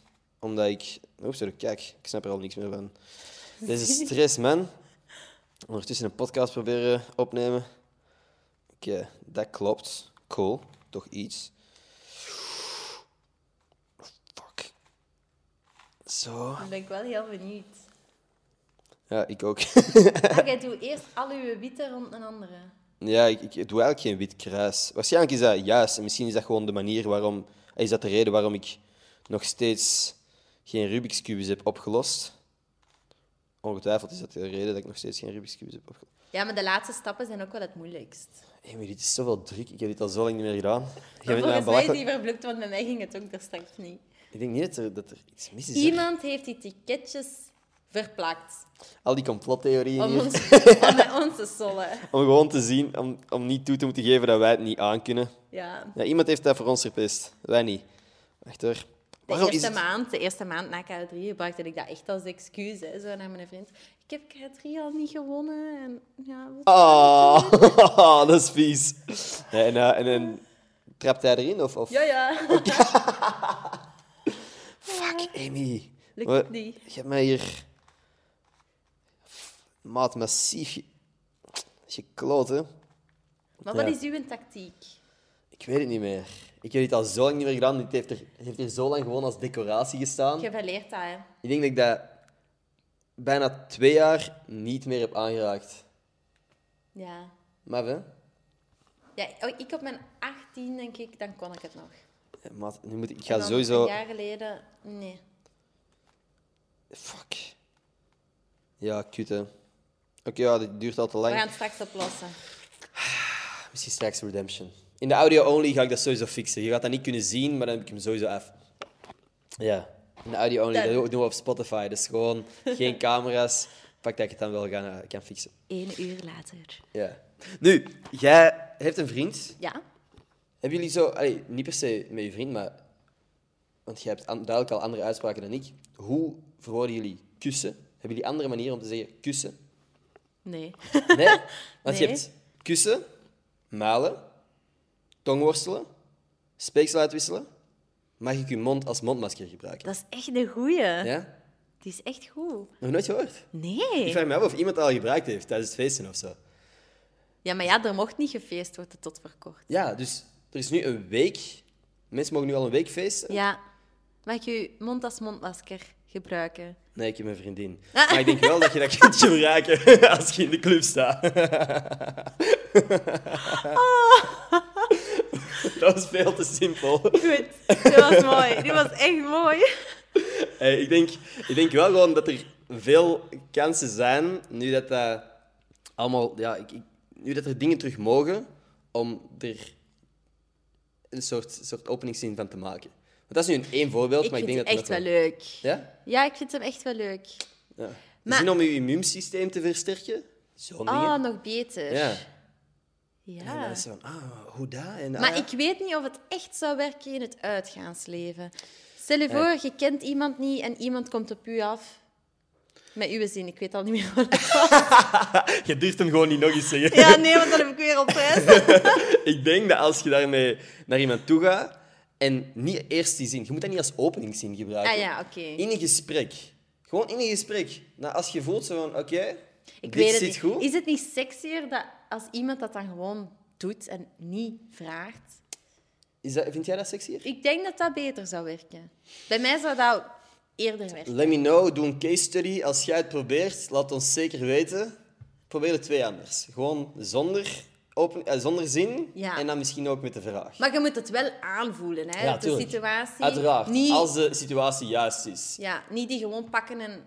omdat ik... Oeps, sorry, kijk, ik snap er al niks meer van. Deze stress, man. Ondertussen een podcast proberen opnemen. Oké, dat klopt. Cool. Toch iets. Fuck. Zo. Dan ben ik wel heel benieuwd. Ja, ik ook. Ah, jij doet eerst al uw witte rond een andere. Ja, ik, ik doe eigenlijk geen wit kruis. Waarschijnlijk is dat juist. En misschien is dat gewoon de manier waarom... Is dat de reden waarom ik nog steeds geen Rubik's Cubes heb opgelost? Ongetwijfeld is dat de reden dat ik nog steeds geen Rubik's Cubes heb opgelost. Ja, maar de laatste stappen zijn ook wel het moeilijkst. Hé, maar dit is zoveel druk. Ik heb dit al zo lang niet meer gedaan. Maar Je bent mij volgens mij is belachelijk... die verblukt, want bij mij ging het ook er straks niet. Ik denk niet dat er, dat er iets mis is. hè. Iemand heeft die ticketjes verplakt Al die complottheorieën om hier. ons, om bij ons te sollen. Om gewoon te zien, om, om niet toe te moeten geven dat wij het niet aankunnen. Ja. Ja, iemand heeft dat voor ons verpest. Wij niet. Wacht hoor. De Waarom is eerste, het- maand, de eerste maand na K3 gebruikte ik dat echt als excuus hè, zo naar mijn vriend. Ik heb K3 al niet gewonnen. En, ja, Ah. wat- Oh, dat is vies. Nee, en, eh, en, en trapt hij erin? Of, of... ja, ja. Fuck, Amy. Lukt Wat- het niet. Je hebt mij hier... Maat, massief... ge- Gekloot, hè? Maar wat Ja. is uw tactiek? Ik weet het niet meer. Ik heb dit al zo lang niet meer gedaan. Dit heeft er, het heeft er zo lang gewoon als decoratie gestaan. Je verleert dat, hè? Ik denk dat ik dat bijna twee jaar niet meer heb aangeraakt. Ja. Maar hè? ja. oh, Ik op mijn 18, denk ik, dan kon ik het nog. Ja, Maat, nu moet ik... ik En ga dan sowieso... Een jaar geleden, nee. Fuck. Ja, kut, hè. Oké, ja, dit duurt al te We lang. gaan het straks oplossen. Misschien straks Redemption. In de audio-only ga ik dat sowieso fixen. Je gaat dat niet kunnen zien, maar dan heb ik hem sowieso af. Ja, in de audio-only. Dan- Dat doen we op Spotify. Dus gewoon geen camera's. Pak dat ik het dan wel gaan, eh, kan fixen. Eén uur later. Ja. Nu, jij hebt een vriend. Ja? Hebben jullie zo... allee, niet per se met je vriend, maar... Want jij hebt an- duidelijk al andere uitspraken dan ik. Hoe verwoorden jullie kussen? Hebben jullie andere manieren om te zeggen kussen? Nee. Nee, want Nee. je hebt kussen, malen, tongworstelen, speeksel uitwisselen. Mag ik je mond als mondmasker gebruiken? Dat is echt een goeie. Ja? Die is echt goed. Nog nooit gehoord? Ik Eh. Nee. vraag me af of iemand dat al gebruikt heeft tijdens het feesten of zo. Ja, maar ja, er mocht niet gefeest worden tot verkort. Ja, dus er is nu een week. Mensen mogen nu al een week feesten. Ja. Mag ik je mond als mondmasker gebruiken? Nee, ik heb mijn vriendin. Ah. Maar ik denk wel dat je dat kunt gebruiken als je in de club staat. Dat was veel te simpel. Goed. Dit was mooi. Dit was echt mooi. Hey, Eh, ik, denk, ik denk wel gewoon dat er veel kansen zijn, nu dat dat allemaal, ja, ik, ik- nu dat er dingen terug mogen, om er een soort, soort openingszin van te maken. dat is nu een één voorbeeld, Ik maar ik vind denk het dat echt nog wel leuk. Ja? Ja, ik vind hem echt wel leuk. ja. De Maar- zin om je immuunsysteem te versterken? Zo'n Ah, dingen. nog beter. Ja. Ja. En dan is het van, ah, hoe dat? En, ah, Maar ja. ik weet niet of het echt zou werken in het uitgaansleven. Stel je voor, je kent iemand niet en iemand komt op u af. Met uw zin, ik weet al niet meer wat het was. Je durft hem gewoon niet nog eens zeggen. Ja, nee, want dan heb ik weer op prijs. Ik denk dat als je daarmee naar iemand toe gaat en niet eerst die zin, je moet dat niet als openingszin gebruiken. Ah ja, oké. In een gesprek. Gewoon in een gesprek. Nou, als je voelt zo van, oké, Ik dit weet het zit niet. goed. Is het niet sexier dat als iemand dat dan gewoon doet en niet vraagt? Is dat, vind jij dat sexier? Ik denk dat dat beter zou werken. Bij mij zou dat eerder werken. Let me know, doe een case study. Als jij het probeert, laat ons zeker weten. Probeer het twee anders. Gewoon zonder, open, eh, zonder zin Ja. en dan misschien ook met de vraag. Maar je moet het wel aanvoelen, hè? Ja, de tuurlijk. situatie. Uiteraard, Niet, als de situatie juist is. ja, niet die gewoon pakken en...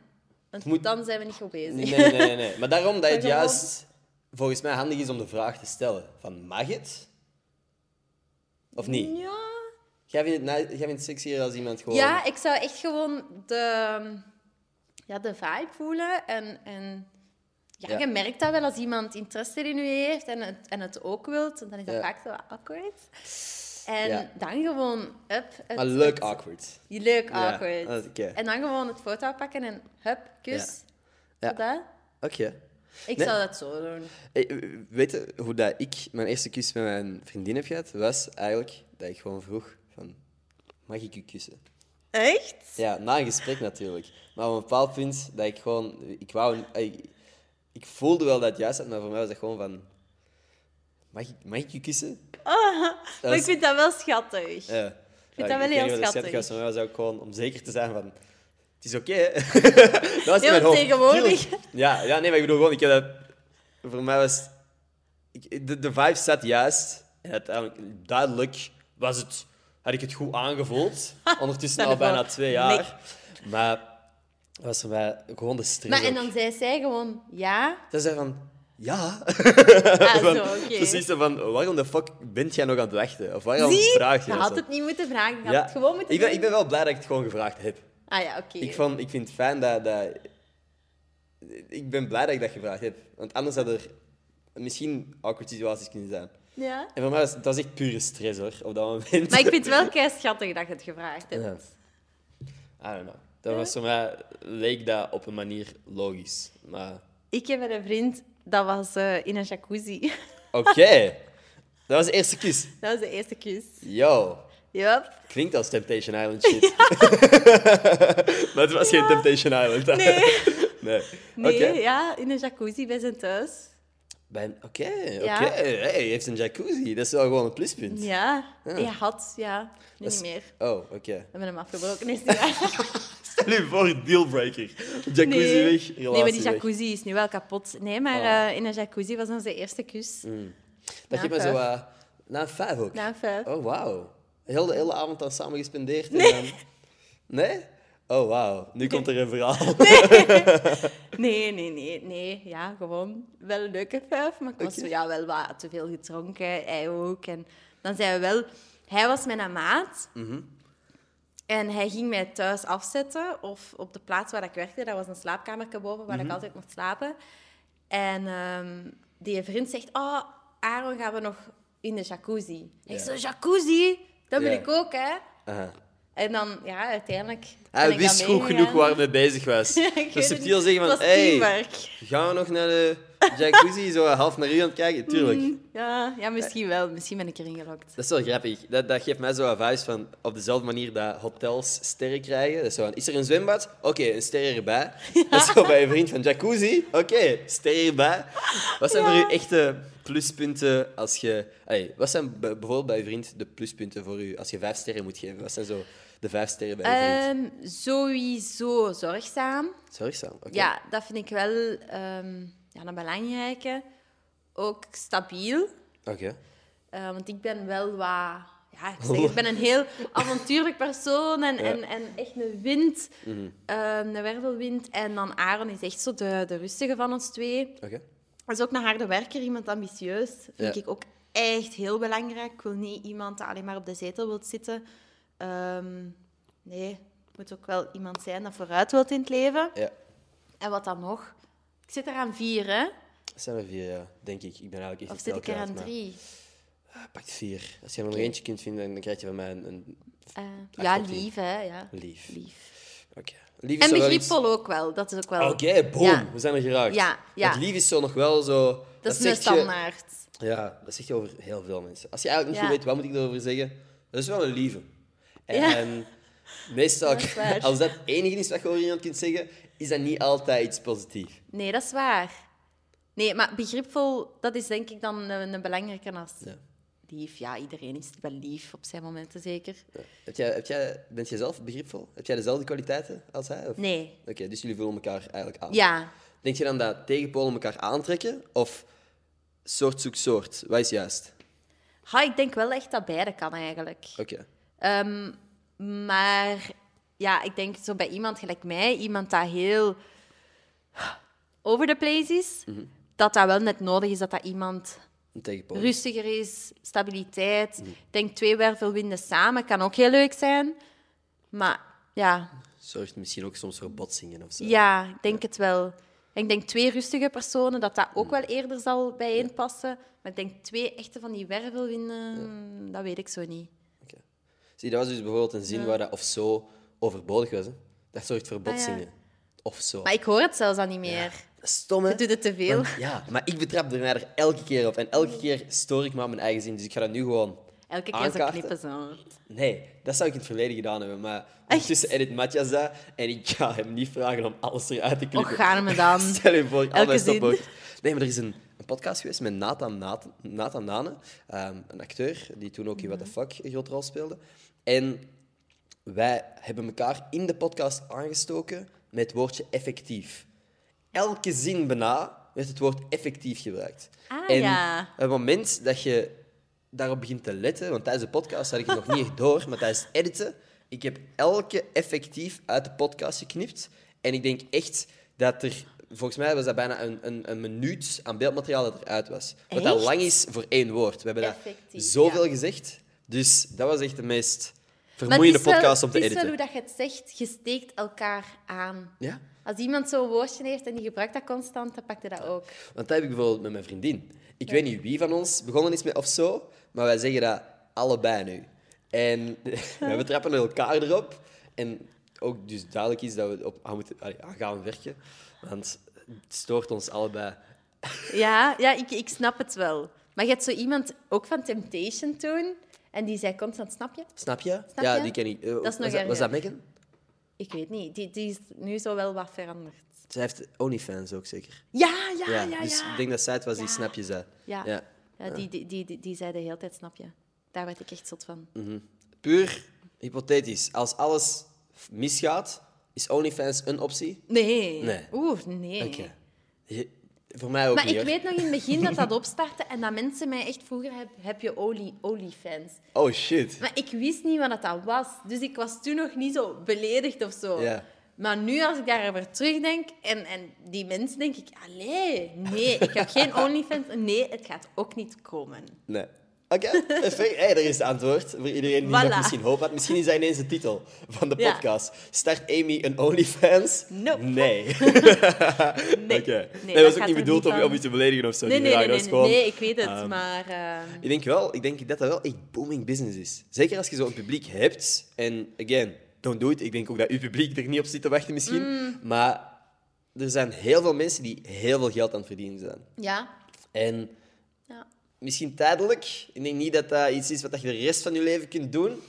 Want moet- dan zijn we niet goed bezig. Nee, nee, nee, nee, nee. Maar daarom dat het Maar gewoon- juist volgens mij handig is om de vraag te stellen: van mag het? Of niet? Ja... Jij vindt het, ni- jij vindt het sexier als iemand gewoon. Ja, ik zou echt gewoon de, ja, de vibe voelen. En, en ja, Ja. je merkt dat wel als iemand interesse in u heeft en het, en het ook wilt. Dan is dat Ja. vaak zo wat awkward. En Ja. dan gewoon up. Het, maar leuk het- awkward. leuk Ja, awkward. dat- oké. En dan gewoon het foto pakken en hup, kus. Ja. Zo dat. Oké. Ik Nee. zou dat zo doen. Hey, eh, weet je hoe dat ik mijn eerste kus met mijn vriendin heb gehad? Was eigenlijk dat ik gewoon vroeg: van, mag ik u kussen? Echt? Ja, na een gesprek natuurlijk. Maar op een bepaald punt dat ik gewoon. Ik, wou, eh, ik, ik voelde wel dat het juist had, maar voor mij was dat gewoon van. Mag ik, mag ik je kussen? Dat Ah, Maar ik is- vind dat wel schattig. Ja. vind dat wel weet heel niet of dat schattig. was, maar dat was ook gewoon om zeker te zijn van... Het is oké, hè. dat was Ja, in mijn want hoofd. tegenwoordig- Tuurlijk. Ja, ja, nee, maar ik bedoel gewoon... Ik heb dat... Voor mij was... Ik, de, de vibe zat juist. En uiteindelijk, duidelijk was het... Had ik het goed aangevoeld. Ondertussen Stel al je voor. bijna twee jaar. Maar dat was voor mij gewoon de stress Maar en ook. dan zei zij gewoon ja. Dan zei van... Ja. Ah, zo, Van- oké. Precies zo van, waarom de fuck bent jij nog aan het wachten? Of waarom Zie? vraag je Je dat had zo? het niet moeten vragen. Je had Ja. het gewoon moeten ik ben, doen. ik ben wel blij dat ik het gewoon gevraagd heb. Ah ja, oké. Ik, vond, ik vind het fijn dat, dat... Ik ben blij dat ik dat gevraagd heb. Want anders had er misschien awkward situaties kunnen zijn. Ja. En voor mij was dat was echt pure stress, hoor, op dat moment. Maar ik vind het wel kei schattig dat je het gevraagd hebt. Ja. I don't know. Dat was voor mij... Leek dat op een manier logisch. Maar... Ik heb een vriend, dat was eh, in een jacuzzi. Oké. dat was de eerste kus. Dat was de eerste kus. Yo. Yup. Klinkt als Temptation Island shit. maar het was geen Temptation Island. hè? Nee. Nee. Nee, Oké. ja, in een jacuzzi bij zijn thuis. Ben- Oké, oké. Ja. Hey, hij heeft een jacuzzi. Dat is wel gewoon een pluspunt. Ja, hij had, ja. Nu Dat is- niet meer. Oh, oké. We hebben hem afgebroken, is niet waar. Stel je voor, dealbreaker. Jacuzzi Nee. weg, relatie nee, maar die weg. jacuzzi is nu wel kapot. Nee, maar Ah. eh, in een jacuzzi was onze eerste kus. Dat Na geeft me zo... vijf. eh na vijf ook? Na vijf. Oh, wauw. Heel de hele avond dan samen gespendeerd. en dan- Nee? Oh, wauw. Nu komt er een verhaal. Nee, nee, nee, nee. Ja, gewoon wel een leuke vijf, maar ik was Oké. ja, wel wat te veel gedronken, hij ook. En dan zijn we wel... Hij was mijn maat. Mhm. En hij ging mij thuis afzetten, of op de plaats waar ik werkte. Dat was een slaapkamertje boven, waar Mhm. ik altijd mocht slapen. En ehm, die vriend zegt, oh, Aaron, gaan we nog in de jacuzzi? Ik Ja. zo, jacuzzi? Dat wil Ja. ik ook, hè? Aha. En dan, ja, uiteindelijk... ben Hij ik dan wist goed genoeg meegegaan. waar hij mee bezig was. Ik weet Dus het subtiel niet. zeggen Het van... was Hey, teamwork." gaan we nog naar de jacuzzi? Zo eh, half naar u aan het kijken? Tuurlijk. Mm. Ja, ja, misschien wel. Misschien ben ik erin gelokt. Dat is wel grappig. Dat, dat geeft mij zo een vuist van op dezelfde manier dat hotels sterren krijgen. Dat is, zo van, is er een zwembad? Oké, een ster erbij. Dat is zo bij een vriend van jacuzzi. Oké, ster erbij. Wat zijn voor u echte pluspunten als je. allee, wat zijn b- bijvoorbeeld bij je vriend de pluspunten voor u als je vijf sterren moet geven? Wat zijn zo de vijf sterren bij je vriend? Ehm, sowieso zorgzaam. Zorgzaam. Oké. Eh, Ja, dat vind ik wel ehm, ja, een belangrijke. Ook stabiel. Oké. eh, want ik ben wel wat... Ja, ik, zeg, ik ben een heel avontuurlijk persoon en, en, en echt een wind. ehm, een wervelwind. En dan Aaron is echt zo de, de rustige van ons twee. Oké. Dat is ook een harde werker, iemand ambitieus. Vind Ja. ik ook echt heel belangrijk. Ik wil niet iemand die alleen maar op de zetel wilt zitten. Eh, Ehm, nee, het moet ook wel iemand zijn dat vooruit wilt in het leven. Ja, En wat dan nog? Ik zit er aan vier, hè? dat zijn er vier, ja, denk ik. Ik ben eigenlijk echt Of niet zit ik er telkens, aan maar- drie? Ah, Pak vier. Als je er nog eentje kunt vinden, dan krijg je van mij een, een Eh, Acht ja, op tien. lief, hè? Ja. lief. lief. Oké. Lief is En zo wel begripvol ook wel. Dat is ook wel... iets- Oké, boom. Ja. We zijn er geraakt. Ja, ja. Want lief is zo nog wel zo... Dat, Dat is een zegt je- standaard. Ja, dat zeg je over heel veel mensen. Als je eigenlijk niet Ja. goed weet, wat moet ik erover zeggen? Dat is wel een lieve. En Ja. meestal, is waar. als dat het enige is wat je over iemand kunt zeggen, is dat niet altijd iets positiefs. Nee, dat is waar. Nee, maar begripvol, dat is denk ik dan een, een belangrijke als Ja. lief. Ja, iedereen is wel lief op zijn momenten, zeker. Heb jij, heb jij, bent jij zelf begripvol? Heb jij dezelfde kwaliteiten als hij? of- Nee. Oké, dus jullie vullen elkaar eigenlijk aan. Ja. Denk je dan dat tegenpolen elkaar aantrekken? Of soort zoekt soort? Wat is juist? Ha, ik denk wel echt dat beide kan, eigenlijk. Oké. Ehm, maar ja, ik denk zo bij iemand gelijk mij, iemand dat heel over the place is, Mhm. dat dat wel net nodig is dat dat iemand Een tegenpool. rustiger is, stabiliteit. Mhm. Ik denk twee wervelwinden samen kan ook heel leuk zijn. Maar ja, Zorgt misschien ook soms voor botsingen of zo. ja ik denk het wel. Ik denk twee rustige personen, dat dat ook wel eerder zal bijeenpassen. Maar ik denk twee echte van die wervelwinden, dat weet ik zo niet. Oké. Zie, dat was dus bijvoorbeeld een zin waar dat of zo overbodig was. Hè? Dat zorgt voor botsingen. Of zo. Ah, Maar ik hoor het zelfs al niet meer. Stom, hè? Je doet het te veel. Want- ja, maar ik betrap er mij er elke keer op. En elke keer stoor ik me aan mijn eigen zin. Dus ik ga dat nu gewoon Elke keer zo aankaarten. knippen zo. Nee, dat zou ik in het verleden gedaan hebben. Maar ondertussen edit Matthias dat. En ik ga hem niet vragen om alles eruit te knippen. Och, gaar me dan. Stel je voor, al Elke mijn zin. stopwoord. Nee, maar er is een, een podcast geweest met Nathan, Nathan, Nathan Nane. ehm, een acteur die toen ook in Mhm. What the Fuck een grote rol speelde. En wij hebben elkaar in de podcast aangestoken met het woordje effectief. Elke zin bijna werd het woord effectief gebruikt. Ah, en ja. op het moment dat je daarop begint te letten, want tijdens de podcast had ik het nog niet echt door, maar tijdens het editen, ik heb elke effectief uit de podcast geknipt. En ik denk echt dat er, volgens mij was dat bijna een, een, een minuut aan beeldmateriaal dat eruit was. Wat dat Echt? lang is voor één woord. We hebben dat Effectief, zoveel ja. gezegd, dus dat was echt de meest Maar het vermoeiende is wel- podcast om te Het is wel editen. hoe dat je het zegt, je steekt elkaar aan. Ja, Als iemand zo'n woordje heeft en die gebruikt dat constant, dan pakt je dat ook. want dat heb ik bijvoorbeeld met mijn vriendin. Ik weet niet wie van ons begonnen is met of zo, maar wij zeggen dat allebei nu. En we betrappen elkaar erop. En ook dus duidelijk is dat we op aan, moeten, allee, aan gaan werken, want het stoort ons allebei. Ja, ja ik, ik snap het wel. Maar je hebt zo iemand ook van Temptation toen, en die zei constant, snap je? Snap je? Snap ja, je? die ken ik. Eh, is nog was, dat, was erger. dat Megan? Ik weet niet, die, die is nu zo wel wat veranderd. Zij heeft OnlyFans ook zeker. Ja, ja, Ah, ja, ja. dus ik denk dat zij het was die Ja. Snap je zei. Ja. ja. Ja, die, die, die, die, die zei de hele tijd, snap je? Daar werd ik echt zot van. Hm. Puur hypothetisch. Als alles misgaat, is OnlyFans een optie? Nee. Nee. Oeh, nee. Oké. Je- Voor mij ook Eh. Maar niet, ik hoor. weet nog in het begin dat dat opstartte en dat mensen mij echt vroegen, heb, heb je olie, oliefans? Oh, shit. Maar ik wist niet wat dat dan was. Dus ik was toen nog niet zo beledigd of zo. Ja. Maar nu, als ik daarover terugdenk en, en die mensen, denk ik... Allee, nee, ik heb geen OnlyFans. Nee, het gaat ook niet komen. Nee. Oké, perfect. Hey, daar is het antwoord. Voor iedereen die dat Voilà. misschien hoop had. Misschien is dat ineens de titel van de Ja. podcast. Start Amy een OnlyFans? Nope. Nee. Oké. Nee, Nee, dat was ook gaat niet er bedoeld om, van. om je te beledigen of zo. Nee, die nee, vraag. nee, Dat nee, was nee, gewoon- nee, ik weet het, ehm, maar... ehm, Ik denk wel, ik denk dat dat wel echt booming business is. Zeker als je zo'n publiek hebt. En again, don't do it. Ik denk ook dat uw publiek er niet op zit te wachten misschien. Mm. Maar er zijn heel veel mensen die heel veel geld aan het verdienen zijn. ja, En ja. misschien tijdelijk. Ik denk niet dat dat iets is wat je de rest van je leven kunt doen.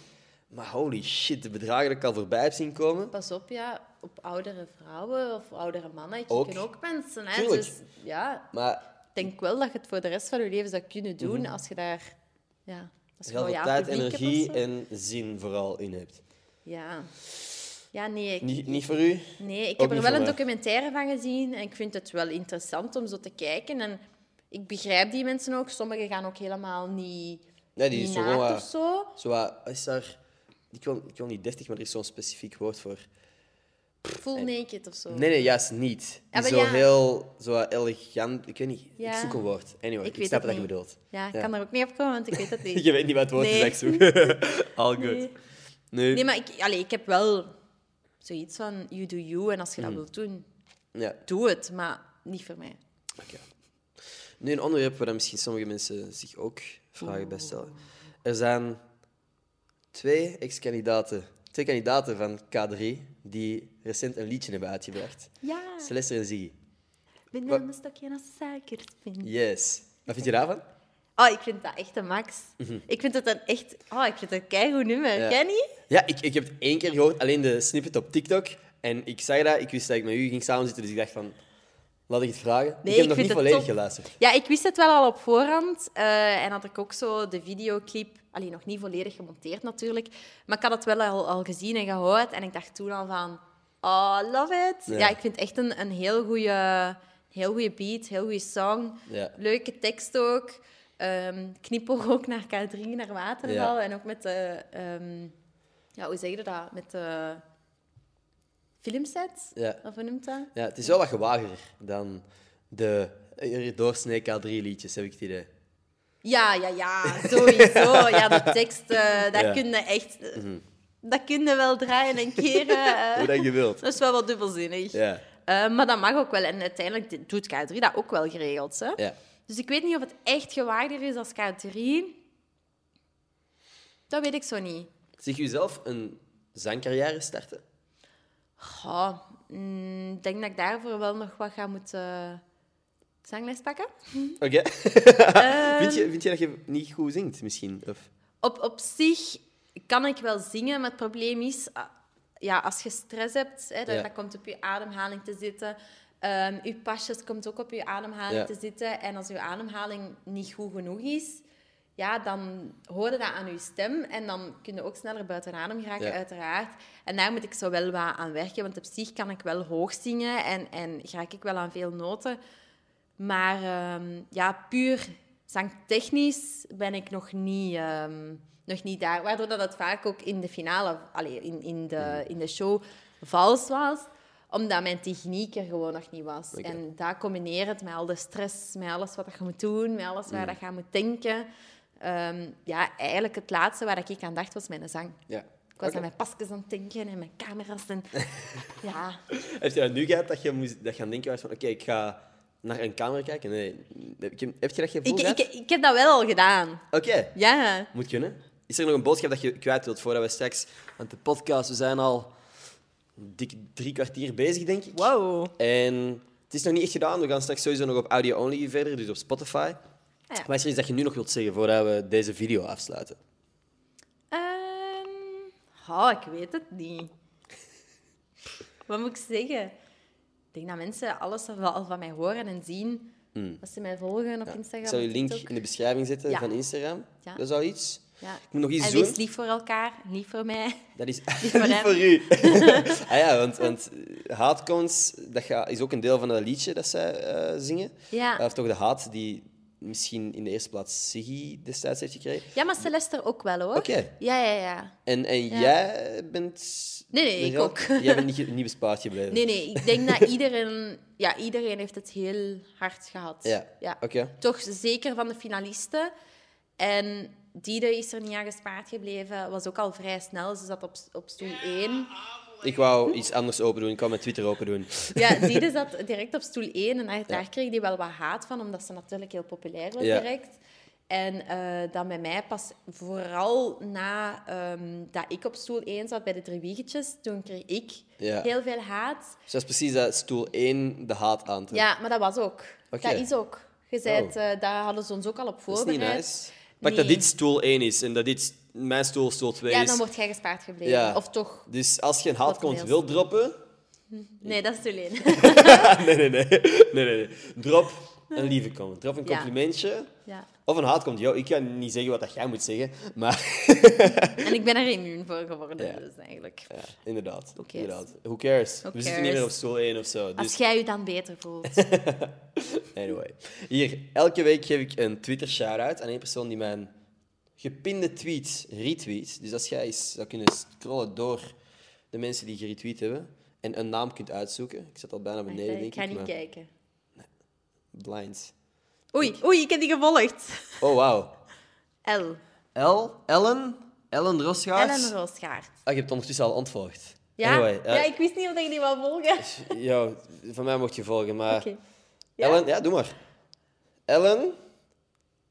Maar holy shit, de bedragen die ik al voorbij heb zien komen. Pas op, ja. Op oudere vrouwen of oudere mannen. Je Ook. kunt ook mensen, hè. Tuurlijk. Dus ja, Maar ik denk wel dat je het voor de rest van je leven zou kunnen doen als je daar... Ja, als je Mhm. heel veel loyaal tijd, publiek hebt of energie zo. en zin vooral in hebt. Ja. Ja, nee. Ik, Niet, niet voor u? nee, ik heb er ook niet wel voor een mij. documentaire van gezien en ik vind het wel interessant om zo te kijken. En ik begrijp die mensen ook. Sommigen gaan ook helemaal niet, Nee, die niet is zo naakt gewoon, eh, of zo. Zo, wat- is daar... Ik wil, ik wil niet deftig, maar er is zo'n specifiek woord voor. Full naked of zo. Nee, nee, juist niet. Die maar zo ja. heel zo wat elegant... Ik weet niet. Ik Ja. zoek een woord. Anyway, Ik ik, weet snap het wat je niet. bedoelt. Ja, ik kan er ook niet op komen, want ik weet het niet. Je weet niet wat het woord is Nee. dat ik zoek. All good. Nee. Nee, Nee. Nee, maar ik, allee, ik heb wel zoiets van you do you. En als je dat wilt doen, Ja. doe het. Maar niet voor mij. Oké. Nu een onderwerp waar misschien sommige mensen zich ook vragen bij stellen. Er zijn twee ex-kandidaten, twee kandidaten van K3 die recent een liedje hebben uitgebracht. Ja, Celeste en Ziggy. bananenstokje als suikerspin. Yes. Wat vind je daarvan? Oh, ik vind dat echt een max. Ik vind dat een echt... Oh, ik vind dat een keigoed nummer. Ja. Ken je? Ja, ik, ik heb het één keer gehoord, alleen de snippet op TikTok. En ik zag dat, ik wist dat ik met u ging samenzitten, dus ik dacht van, laat ik het vragen. Nee, ik heb ik vind nog niet het volledig top. geluisterd. Ja, ik wist het wel al op voorhand. eh, en had ik ook zo de videoclip... Alleen nog niet volledig gemonteerd natuurlijk. Maar ik had het wel al, al gezien en gehoord. En ik dacht toen al van... Oh, love it. Ja. Ja, ik vind het echt een, een heel goede heel goeie beat, heel goede song. Ja. Leuke tekst ook. Ehm knipoog ook naar K3, naar Waterval. Ja. En ook met de... ehm, ja, hoe zeg je dat? Met de filmsets? Ja. Of hoe noemt dat? Ja, het is wel wat gewager dan de er doorsnee K3-liedjes, heb ik het idee. Ja, ja, ja, sowieso. Ja, de tekst, eh dat Ja. Mhm. kun je echt... eh, Dat kun je wel draaien en keren. eh. Hoe dat je wilt. dat is wel wat dubbelzinnig. Ja. Eh, maar dat mag ook wel. En uiteindelijk di- doet K3 dat ook wel geregeld. Hè? Ja. Dus ik weet niet of het echt gewaarder is als K3. Dat weet ik zo niet. Zich jezelf een zangcarrière starten? Goh, mm, ik denk dat ik daarvoor wel nog wat ga moeten zangles pakken. Oké. Ehm. vind, je, vind je dat je niet goed zingt, misschien? Of... Op, op zich kan ik wel zingen, maar het probleem is... ah, Ja, als je stress hebt, hè, dat, Ja. dat komt op je ademhaling te zitten. Ehm je pasjes komt ook op je ademhaling Ja. te zitten. En als je ademhaling niet goed genoeg is, ja, dan hoor je dat aan je stem. En dan kun je ook sneller buiten adem geraken, Ja. uiteraard. En daar moet ik zo wel wat aan werken. Want op zich kan ik wel hoog zingen en, en raak ik wel aan veel noten. Maar ehm, ja, puur zangtechnisch ben ik nog niet, ehm, nog niet daar. Waardoor dat het vaak ook in de finale, allee, in, in, de, in de show, vals was. Omdat mijn techniek er gewoon nog niet was. Oké. En dat combineert met al de stress, met alles wat je moet doen, met alles waar Mm. dat je aan moet denken. Ehm, ja, eigenlijk het laatste waar ik aan dacht was mijn zang. Ja. Ik was Oké. aan mijn pasjes aan het denken en mijn camera's. En... ja, Heb je dat nu gehad, dat je, moest, dat je aan het denken was van... Oké, ik ga naar een camera kijken? Nee. Heb je, heb je dat gevoel ik, ik, gehad? ik heb dat wel al gedaan. Oké. Ja. Moet kunnen. Is er nog een boodschap dat je kwijt wilt voordat we straks... Want de podcast, we zijn al dik drie kwartier bezig, denk ik. Wow. En het is nog niet echt gedaan. We gaan straks sowieso nog op audio only verder, dus op Spotify. Ah ja. Maar is er iets dat je nu nog wilt zeggen voordat we deze video afsluiten? Ehm, oh, ik weet het niet. Wat moet ik zeggen? Ik denk dat mensen alles al- al van mij horen en zien. Als ze mij volgen op Instagram. Hmm. Ik zal je op link TikTok. in de beschrijving zetten Ja. van Instagram. Ja. Dat is al iets. Ja. Ik moet nog iets en doen. wees lief voor elkaar, lief voor mij. Dat is voor niet hem. voor u. ah ja, want, want haatcones, dat ga- is ook een deel van dat liedje dat zij eh, zingen. Ja. Of toch de haat die misschien in de eerste plaats Siggy destijds heeft gekregen. Ja, maar Celeste er ook wel hoor. Oké. Ja, ja, ja. En, en jij bent... Nee, nee, ik wel- ook. Jij bent niet, ge- niet bespaard gebleven. Nee, nee, ik denk dat iedereen, ja, iedereen heeft het heel hard gehad. Ja, oké. Toch zeker van de finalisten. En Diede is er niet aan gespaard gebleven. Was ook al vrij snel. Ze zat op, op stoel 1. Ik wou iets anders open doen. Ik wou mijn Twitter open doen. Dus Ja, Diede zat direct op stoel 1. En daar, daar kreeg die wel wat haat van, omdat ze natuurlijk heel populair was Ja. direct. En eh, dan bij mij pas vooral na ehm, dat ik op stoel 1 zat bij de drie wiegetjes, toen kreeg ik Ja. heel veel haat. Dus dat is precies dat stoel 1 de haat aan te Ja, maar dat was ook. Oké. Oh. Dat is ook. Je bent, eh, daar hadden ze ons ook al op Dat is voorbereid. niet nice. Maar dat Nee. dit stoel 1 is en dat dit mijn stoel stoel 2 Ja, is. dan wordt jij gespaard gebleven. Ja. Of toch? Dus als je een haatcont mails. wil droppen... Nee, dat is te leen. Nee, nee, nee. nee, nee, nee. Drop een lieve comment. Drop een Ja. complimentje. Ja. Of een haatcomment. Yo, ik kan niet zeggen wat dat jij moet zeggen, maar... En ik ben er immuun voor geworden, Ja. dus eigenlijk. Ja, inderdaad. Who cares? inderdaad. Who cares? We zitten niet cares? meer op stoel 1 of zo. Dus Als jij je dan beter voelt. Anyway. Hier, elke week geef ik een Twitter shout-out aan één persoon die mijn gepinde tweet retweet. Dus als jij eens zou kunnen scrollen door de mensen die geretweet hebben en een naam kunt uitzoeken. Ik zat al bijna beneden, denk ik. ik ga niet maar kijken. Blinds. Oei, oei, ik heb die gevolgd. Oh, wauw. L. El, Ellen, Ellen Rosgaard. Ellen Roosgaard. Ah, je hebt ondertussen al ontvolgd. Ja? Anyway, eh, ja, ik wist niet of jullie wou volgen. Oké. jou, van mij mocht je volgen, maar... Ellen, ja, doe maar. Ellen,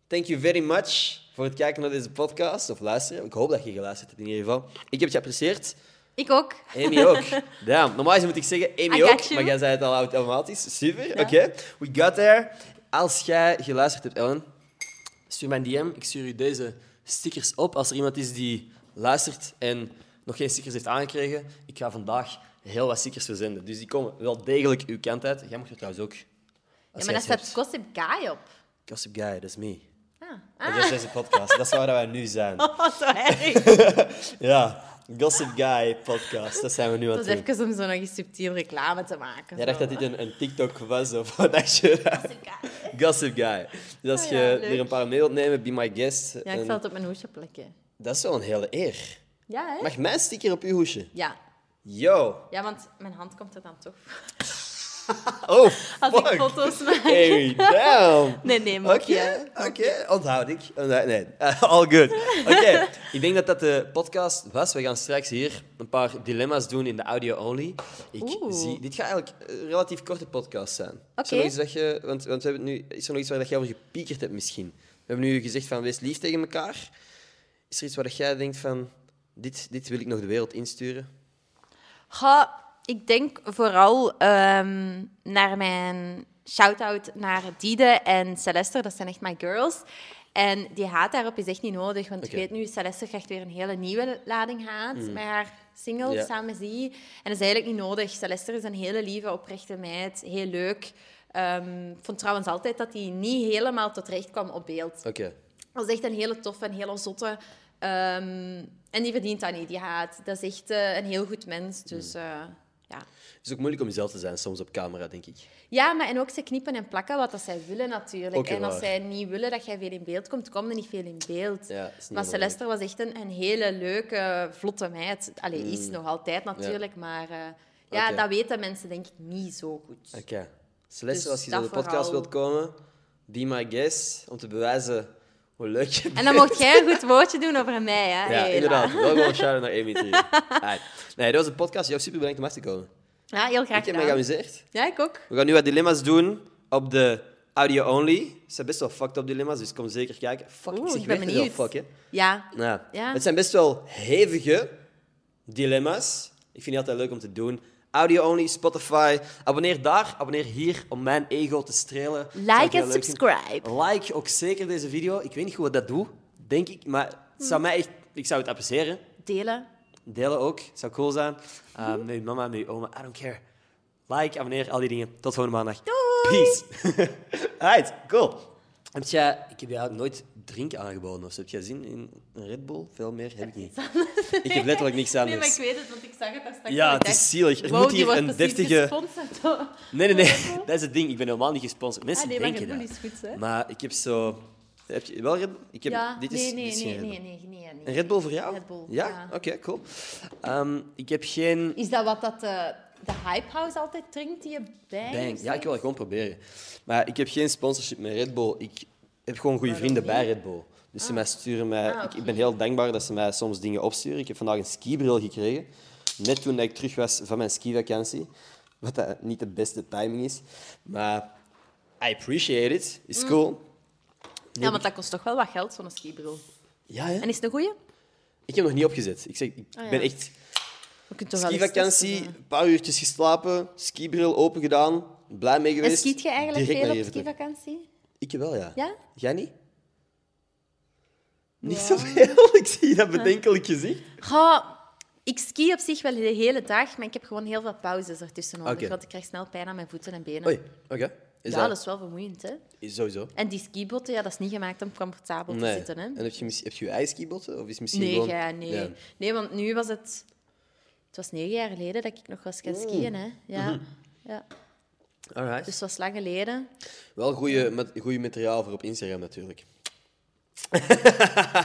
thank you very much voor het kijken naar deze podcast. Of luisteren. Ik hoop dat je geluisterd hebt in ieder geval. Ik heb het geapprecieerd. Ik ook. Amy ook. Damn. Normaal moet ik zeggen Amy I got ook, you. maar jij zei het al automatisch. Super, oké. We got there. Als jij geluisterd hebt, Ellen, stuur mij een DM. Ik stuur u deze stickers op. Als er iemand is die luistert en nog geen stickers heeft aangekregen, ik ga vandaag heel wat stickers verzenden. Dus die komen wel degelijk uw kant uit. Jij mag er trouwens ook. Ja, Als maar jij daar het staat hebt. Gossip Guy op. Gossip Guy, dat is me. Ah. Dat is deze podcast. Dat is waar wij nu zijn. Oh, zo erg. Ja, Gossip Guy podcast. Dat zijn we nu aan Dat het is doen. even om zo nog eens subtiel reclame te maken. Jij dacht zo. dat dit een, een TikTok was of wat als je... Gossip Guy. Gossip Guy. Dus als Ah je ja, leuk. er een paar mee wilt nemen, be my guest. Ja, ik En zal het op mijn hoesje plekken. Dat is wel een hele eer. Ja, hè? Mag mijn sticker op uw hoesje? Ja. Yo! ja, want mijn hand komt er dan toch. Oh, Als fuck. ik foto's maak. Hey, damn! Nee, nee, Oké, maar oké, onthoud ik. Onthoud- Nee, eh, all good. Oké, ik denk dat dat de podcast was. We gaan straks hier een paar dilemma's doen in de audio-only. Ik Oeh. zie... Dit gaat eigenlijk een relatief korte podcast zijn. Is Oké. er nog iets dat je... Want, want we hebben nu... Is er nog iets waar dat jij over gepiekerd hebt misschien? We hebben nu gezegd van, wees lief tegen elkaar. Is er iets waar dat jij denkt van... Dit, dit wil ik nog de wereld insturen. Goh, ik denk vooral ehm, naar mijn shout-out naar Dide en Celeste. Dat zijn echt mijn girls. En die haat daarop is echt niet nodig. Want Oké. Mm. je weet nu, Celeste krijgt weer een hele nieuwe lading haat met haar single Ja. samen met Zee. En dat is eigenlijk niet nodig. Celeste is een hele lieve, oprechte meid. Heel leuk. Ehm, ik vond trouwens altijd dat hij niet helemaal tot recht kwam op beeld. Oké. Dat is echt een hele toffe en hele zotte. Ehm, en die verdient dat niet, die haat. Dat is echt eh, een heel goed mens. Hmm. Dus eh, ja. Het is ook moeilijk om jezelf te zijn soms op camera, denk ik. Ja, maar en ook ze knippen en plakken wat dat zij willen natuurlijk. Ook heel en als waar. zij niet willen dat jij veel in beeld komt, komt er niet veel in beeld. Ja, dat is niet maar helemaal Celeste was echt een, een hele leuke, vlotte meid. Allee, is nog altijd natuurlijk, maar eh, ja, Hmm. Oké. dat weten mensen denk ik niet zo goed. Oké. Celeste, Dus als je dat naar de podcast vooral. wilt komen, be my guest, om te bewijzen hoe leuk je bent. En dan mocht jij een goed woordje doen over mij, hè? Ja, Hela. inderdaad. Wel gewoon een shout-out naar Amy Trier. Alright. Nee, dat was een podcast. Jou super bedankt om af te komen. Ja, heel graag Ik heb me gedaan. geamuseerd. Ja, ik ook. We gaan nu wat dilemma's doen op de audio-only. Het zijn best wel fucked up dilemma's, dus kom zeker kijken. Fuck, Oeh, ik zeg ik ben weer heel benieuwd. fuck, hè. Ja. Nou, Ja. Het zijn best wel hevige dilemma's. Ik vind die altijd leuk om te doen. Audio only, Spotify. Abonneer daar, abonneer hier om mijn ego te strelen. Zou ik Like heel en leuk vinden. subscribe. Like ook zeker deze video. Ik weet niet hoe ik dat doe, denk ik. Maar het Hm. zou mij echt, ik zou het appreciëren. Delen. Delen ook, zou cool zijn. Ehm, met je mama, met je oma, I don't care. Like, abonneer, al die dingen. Tot volgende maandag. Peace. Alright, cool. Heb jij, ik heb jou nooit drinken aangeboden of zo. Heb jij zin in een Red Bull? Veel meer heb ik niet. Ik heb letterlijk niks Nee, maar ik anders. weet het, want ik zag het daar straks. Ja, en ik het is dacht, zielig. Er wow, moet die hier wordt een precies deftige... gesponsord door- Nee, nee, nee. Dat is het ding. Ik ben helemaal niet gesponsord. Mensen Ah, nee, maar denken Red Bull dat. is goed, hè? Maar ik heb zo... Heb je wel Red Bull? Ik heb... Ja, dit is, nee, nee, dit is geen nee, Red nee, Bull. nee, nee, nee. Een Red Bull voor jou? Red Bull, Ja? ja. Oké, cool. Ehm, ik heb geen... Is dat wat dat de, de Hype House altijd drinkt, die je bij? Bang. Ja, ik wil dat gewoon proberen. Maar ik heb geen sponsorship met Red Bull. Ik heb gewoon goede vrienden bij Red Bull. Dus ze mij sturen mij... Ah, ik- oké. Ik ben heel dankbaar dat ze mij soms dingen opsturen. Ik heb vandaag een skibril gekregen. Net toen ik terug was van mijn skivakantie. Wat dat niet de beste timing is. Maar I appreciate it. Mm. Is cool. Ja, want dat kost toch wel wat geld, zo'n skibril. Ja, hè? En is het een goeie? Ik heb nog niet opgezet. Ik, zeg, ik Ah, ja. ben echt... We kunnen toch wel eens Skivakantie, testen, een paar uurtjes geslapen. Skibril open gedaan. Blij mee hè. En geweest. skiet je eigenlijk Direct naar veel op hier vertrokken. skivakantie? Ik wel, ja. Ja? Jij niet? Niet zoveel. Ik zie dat bedenkelijk gezicht. Goh, ik ski op zich wel de hele dag, maar ik heb gewoon heel veel pauzes ertussen nodig, Oké. want ik krijg snel pijn aan mijn voeten en benen. Oei, oké. Is ja, dat is wel vermoeiend, hè? is sowieso. En die skibotten, ja, dat is niet gemaakt om comfortabel te Nee. zitten, hè? En heb je, mis- heb je je eigen skibotten? Of is misschien Nee, gewoon... ja, nee. Ja. Nee, want nu was het... Het was negen jaar geleden dat ik nog was gaan Mm. skiën, hè. Ja. Mhm. ja. Alright. Dus het was lang geleden. Wel goed materiaal voor op Instagram natuurlijk.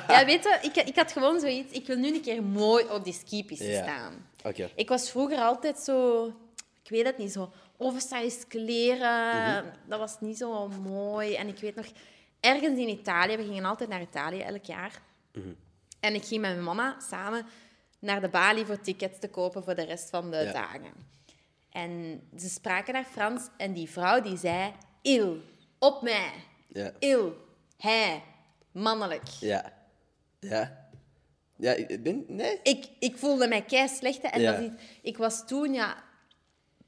Ja, weet je, ik, ik had gewoon zoiets... Ik wil nu een keer mooi op die skipiste Ja. staan. Oké. Ik was vroeger altijd zo... Ik weet het niet, zo oversized kleren. Mhm. Dat was niet zo Mhm. mooi. En ik weet nog, ergens in Italië... We gingen altijd naar Italië elk jaar. En ik ging met mijn mama samen naar de balie voor tickets te kopen voor de rest van de Ja. dagen. En ze spraken naar Frans en die vrouw die zei... Il, op mij. Ja. Il, hij, mannelijk. Ja. Ja. Ja, ik ben... Nee. Ik, ik voelde mij kei slecht. hè, En Ja. dat is iets- ik was toen ja,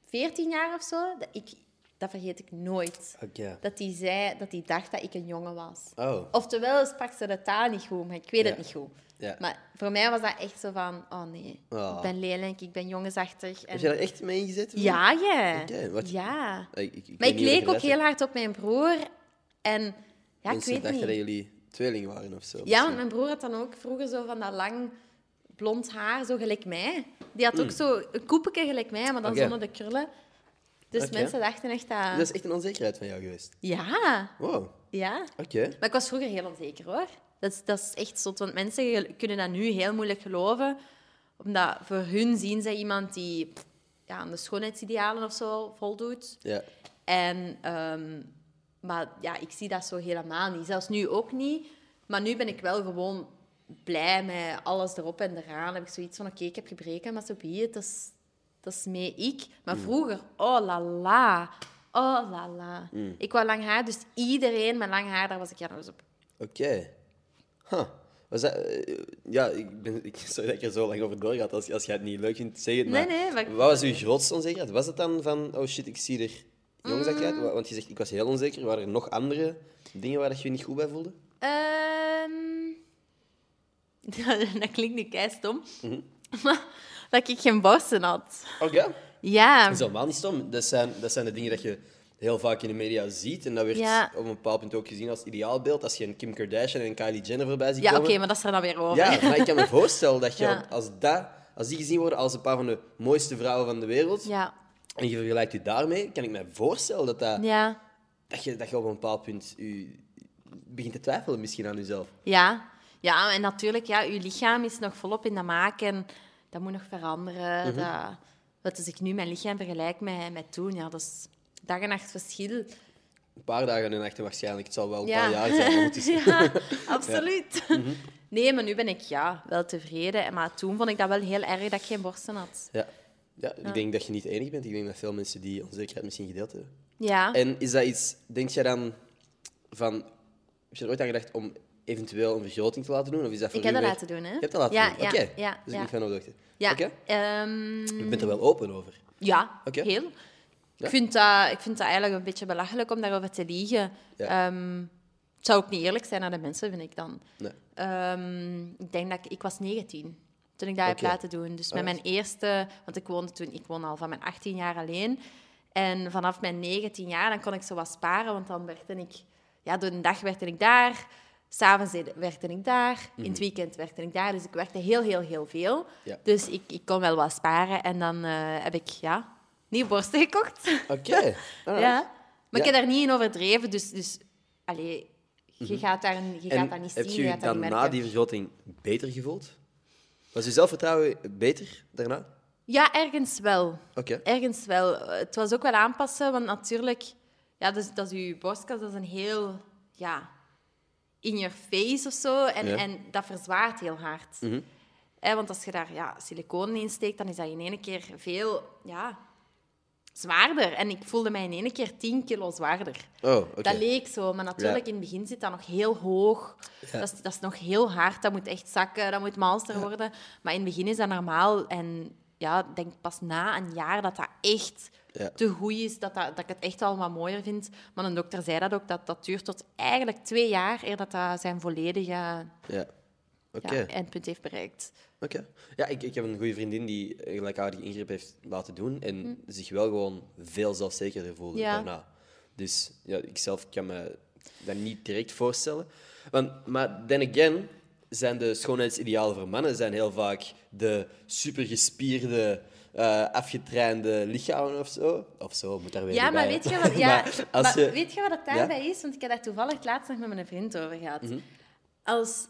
14 jaar of zo. Dat, ik, dat vergeet ik nooit. Oké. Dat hij zei dat hij dacht dat ik een jongen was. Oh. Oftewel sprak ze de taal niet goed, maar ik weet Ja. het niet goed. Ja. Maar voor mij was dat echt zo van: oh nee, Oh. ik ben lelijk, ik ben jongensachtig. En... Heb je daar echt mee ingezet? Ja, ja. Oké, wat- ja. Ik- ik- ik maar weet ik niet of je leek ook dat hebt. heel hard op mijn broer. En ja, Mensen ik weet dachten niet. dat jullie tweeling waren of zo. Ja, misschien. want mijn broer had dan ook vroeger zo van dat lang blond haar, zo gelijk mij. Die had ook zo een koepeltje gelijk mij, maar dan Mm. Oké. zonder de krullen. Dus Oké. Dus- mensen dachten echt dat... Dat is echt een onzekerheid van jou geweest. Ja, Wow. Oké. ja. Maar ik was vroeger heel onzeker, hoor. Dat is, dat is echt zot, want mensen gel- kunnen dat nu heel moeilijk geloven. Omdat voor hun zien ze iemand die pff, ja, aan de schoonheidsidealen of zo voldoet. Ja. En, ehm, maar ja, ik zie dat zo helemaal niet. Zelfs nu ook niet. Maar nu ben ik wel gewoon blij met alles erop en eraan. Heb ik zoiets van, oké, ik heb gebreken, maar zo be it. Dat is, dat is mee ik. Maar Mm. vroeger, oh la la. Oh la la. Mm. Ik wou lang haar, dus iedereen met lang haar, daar was ik jaloers op. Oké. Huh. Was dat... eh, ja, ik ben... ik- Sorry dat ik er zo lang over doorgaat. Als, als je het niet leuk vindt, zeg het Nee, maar. nee, maar ik- Wat was uw grootste onzekerheid? Was het dan van... Oh shit, ik zie er jongensachtig Mm. uit? Wa- Want je zegt, ik was heel onzeker. Waren er nog andere dingen waar dat je je niet goed bij voelde? Ehm, dat klinkt nu kei stom. Mhm. Maar dat ik geen borsten had. Oké. Ja. Dat is helemaal niet stom. Dat zijn, dat zijn de dingen dat je heel vaak in de media ziet. En dat werd Ja. op een bepaald punt ook gezien als ideaalbeeld. Als je een Kim Kardashian en een Kylie Jenner voorbij ziet Ja, oké, komen. maar dat is er dan weer over. Ja, maar ik kan me voorstellen dat je Ja. als, dat, als die gezien worden als een paar van de mooiste vrouwen van de wereld. Ja, En je vergelijkt je daarmee, kan ik me voorstellen dat, dat, ja, dat, je, dat je op een bepaald punt je, begint te twijfelen misschien aan jezelf. ja. Ja, en natuurlijk, ja, je lichaam is nog volop in de maak en dat moet nog veranderen. Mhm. dat, want als ik nu mijn lichaam vergelijk met, met toen, ja, dat is dag en nacht verschil. Een paar dagen en nachten waarschijnlijk. Het zal wel Mhm. een Ja, paar jaar zijn. maar het is- ja absoluut. Nee, maar nu ben ik ja, wel tevreden. En- Maar toen vond ik dat wel heel erg dat ik geen borsten had. Ja. Ja, ik denk dat je niet de enige bent. Ik denk dat veel mensen die onzekerheid misschien gedeeld hebben. Ja. En is dat iets, denk je dan van, heb je er ooit aan gedacht om eventueel een vergroting te laten doen? Of is dat voor Ik heb u dat weer- laten doen, hè? Je hebt dat laten Ja, doen? ja, Oké, ja, dus ja. niet van opdrachten. ja, Oké, ehm, je bent er wel open over. Ja, Oké. heel. Ja. Ik, vind dat, ik vind dat eigenlijk een beetje belachelijk om daarover te liegen. Ja. Ehm, het zou ook niet eerlijk zijn naar de mensen, vind ik dan. Nee. Ehm, ik denk dat ik... Ik was 19 toen ik dat heb Oké. laten doen. Dus met mijn eerste... Want ik woonde toen... Ik woonde al van mijn 18 jaar alleen. En vanaf mijn 19 jaar, dan kon ik zo wat sparen. Want dan werkte ik... Ja, door de dag werkte ik daar. S'avonds werkte ik daar. In het weekend werkte ik daar. Dus ik werkte heel, heel, heel veel. Mhm. Ja. Dus ik, ik kon wel wat sparen. En dan eh, heb ik, ja, nieuwe borsten gekocht. Oké. alright. ja. Maar ik Ja. heb daar niet in overdreven. Dus, dus allee, je gaat daar, je gaat dat Mhm. En niet heb zien, je je je gaat dat dan niet na merken. die vergroting beter gevoeld? Was je zelfvertrouwen beter daarna? Ja, ergens wel. Oké. Ergens wel. Eh, Het was ook wel aanpassen, want natuurlijk... Ja, dus, dat is je borstkas, dat is een heel... Ja, in your face of zo. En, Ja. Mhm. en dat verzwaart heel hard. Eh, want als je daar ja, siliconen in steekt, dan is dat in één keer veel ja, zwaarder. En ik voelde mij in één keer 10 kilo zwaarder. Oh, oké. Dat leek zo, maar natuurlijk Ja. in het begin zit dat nog heel hoog. Dat, is, dat is nog heel hard, dat moet echt zakken, dat moet malster worden. Maar in het begin is dat normaal. En ja, ik denk pas na een jaar dat dat echt Ja. te goed is, dat, dat, dat ik het echt al wat mooier vind. Maar een dokter zei dat ook, dat dat duurt tot eigenlijk twee jaar eer dat dat zijn volledige ja, Ja. Oké. eindpunt heeft bereikt. Oké. Ja, ik, ik heb een goede vriendin die een gelijkaardige ingreep heeft laten doen en zich wel gewoon veel zelfzekerder voelde Hm. Ja. daarna. Dus ja, ik zelf kan me dat niet direct voorstellen. Want, maar then again zijn de schoonheidsidealen voor mannen zijn heel vaak de supergespierde, eh afgetrainde lichamen of zo. Of zo, moet daar weer Ja, niet maar bij, weet hè. je wat, ja, Maar als maar je- weet je wat het daarbij is? Want ik heb daar toevallig het laatst nog met mijn vriend over gehad. Mhm. Als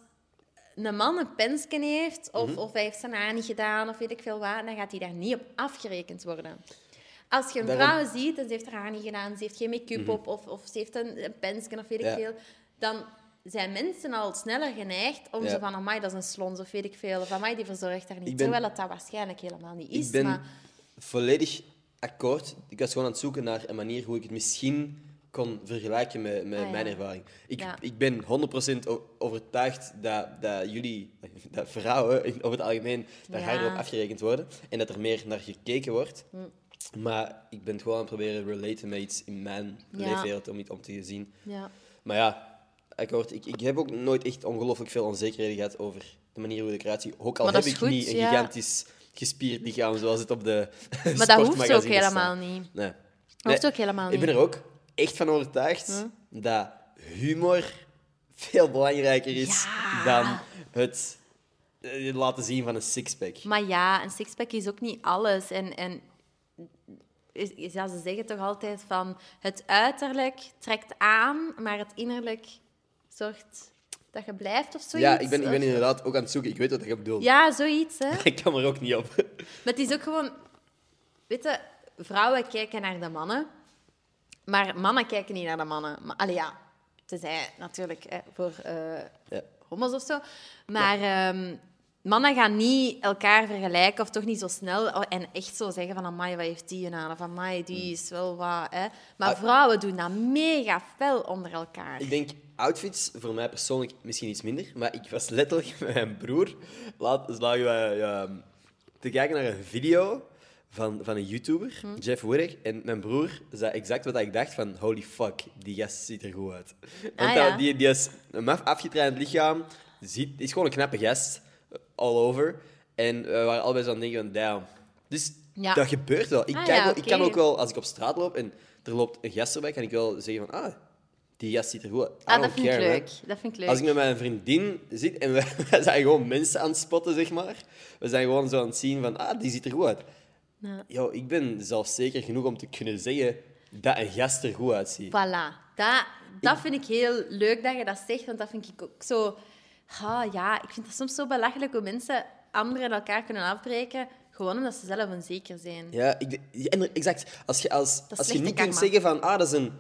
een man een penske heeft, of, Mhm. of hij heeft zijn haar niet gedaan, of weet ik veel wat, dan gaat hij daar niet op afgerekend worden. Als je een Daarom- Mhm. vrouw ziet en ze heeft haar haar niet gedaan, ze heeft geen make-up op, of, of ze heeft een, een penske, of weet ik Ja. veel, dan zijn mensen al sneller geneigd om Ja. zo van, amai, dat is een slons of weet ik veel, of amai, die verzorgt daar niet. Ik ben- Terwijl dat dat waarschijnlijk helemaal niet is. ik ben Maar volledig akkoord. Ik was gewoon aan het zoeken naar een manier hoe ik het misschien kon vergelijken met, met Ah, ja. mijn ervaring. Ik, Ja. ik ben 100% o- overtuigd dat, dat jullie, dat vrouwen in- over het algemeen, daar Ja. harder op afgerekend worden en dat er meer naar gekeken wordt. Maar ik ben het gewoon aan het proberen te relaten met iets in mijn Hm. Ja. leefwereld om iets om te zien. ja. Maar ja, akkoord. Ik, ik heb ook nooit echt ongelooflijk veel onzekerheden gehad over de manier hoe ik eruit zie. Ook al Maar heb dat is ik goed, niet een ja. gigantisch gespierd lichaam zoals het op de Maar dat hoeft ook sportmagazines helemaal staat. niet. Nee. Dat hoeft Nee, ook helemaal Ik ben niet. er ook echt van overtuigd dat humor veel belangrijker is Ja. dan het eh, laten zien van een sixpack. Maar ja, een sixpack is ook niet alles. En, en is, is- ja, ze zeggen toch altijd van het uiterlijk trekt aan, maar het innerlijk zorgt dat je blijft of zoiets. Ja, ik ben, ik ben Of- inderdaad ook aan het zoeken. Ik weet wat ik bedoel. Ja, zoiets, hè. Ik kan er ook niet op. Maar het is ook gewoon... Weet je, vrouwen kijken naar de mannen, maar mannen kijken niet naar de mannen. Maar, allee, ja, tenzij natuurlijk hè, voor eh, Ja. homo's of zo. Maar ehm, mannen gaan niet elkaar vergelijken, of toch niet zo snel. oh, En echt zo zeggen van, amai, wat heeft die aan? Of amai, die is wel wat... Hè. Maar Hmm. Ah. vrouwen doen dat mega fel onder elkaar. Ik denk outfits voor mij persoonlijk misschien iets minder, maar ik was letterlijk met mijn broer. Laat slagen wij ja, te kijken naar een video van, van een YouTuber, Hm. Jeff Wurek. En mijn broer zei exact wat ik dacht: van holy fuck, die gast ziet er goed uit. Want Ah, dat- ja. die, die is een maf afgetraind lichaam, ziet, is gewoon een knappe gast, eh, all over. En we waren allebei zo aan het denken: van, damn. Dus Ja. dat gebeurt wel. Ik, Ah, kijk ja, wel- ik kan oké. ook wel, als ik op straat loop en er loopt een gast erbij, kan ik wel zeggen van, ah, die gast ziet er goed uit. I Ah, dat don't vind ik care, man. leuk. Dat vind ik leuk. Als ik met mijn vriendin zit en wij, wij zijn gewoon mensen aan het spotten, zeg maar. We zijn gewoon zo aan het zien van, ah, die ziet er goed uit. Ja. Yo, ik ben zelfzeker genoeg om te kunnen zeggen dat een gast er goed uitziet. Voilà. Dat, dat vind ik heel leuk dat je dat zegt, want dat vind ik ook zo... Ah, ja, ik vind dat soms zo belachelijk hoe mensen anderen elkaar kunnen afbreken, gewoon omdat ze zelf onzeker zijn. Ja, ik, de- ja, en er- exact. Als je, als, is als je slechte niet kunt karma. zeggen van, ah, dat is een...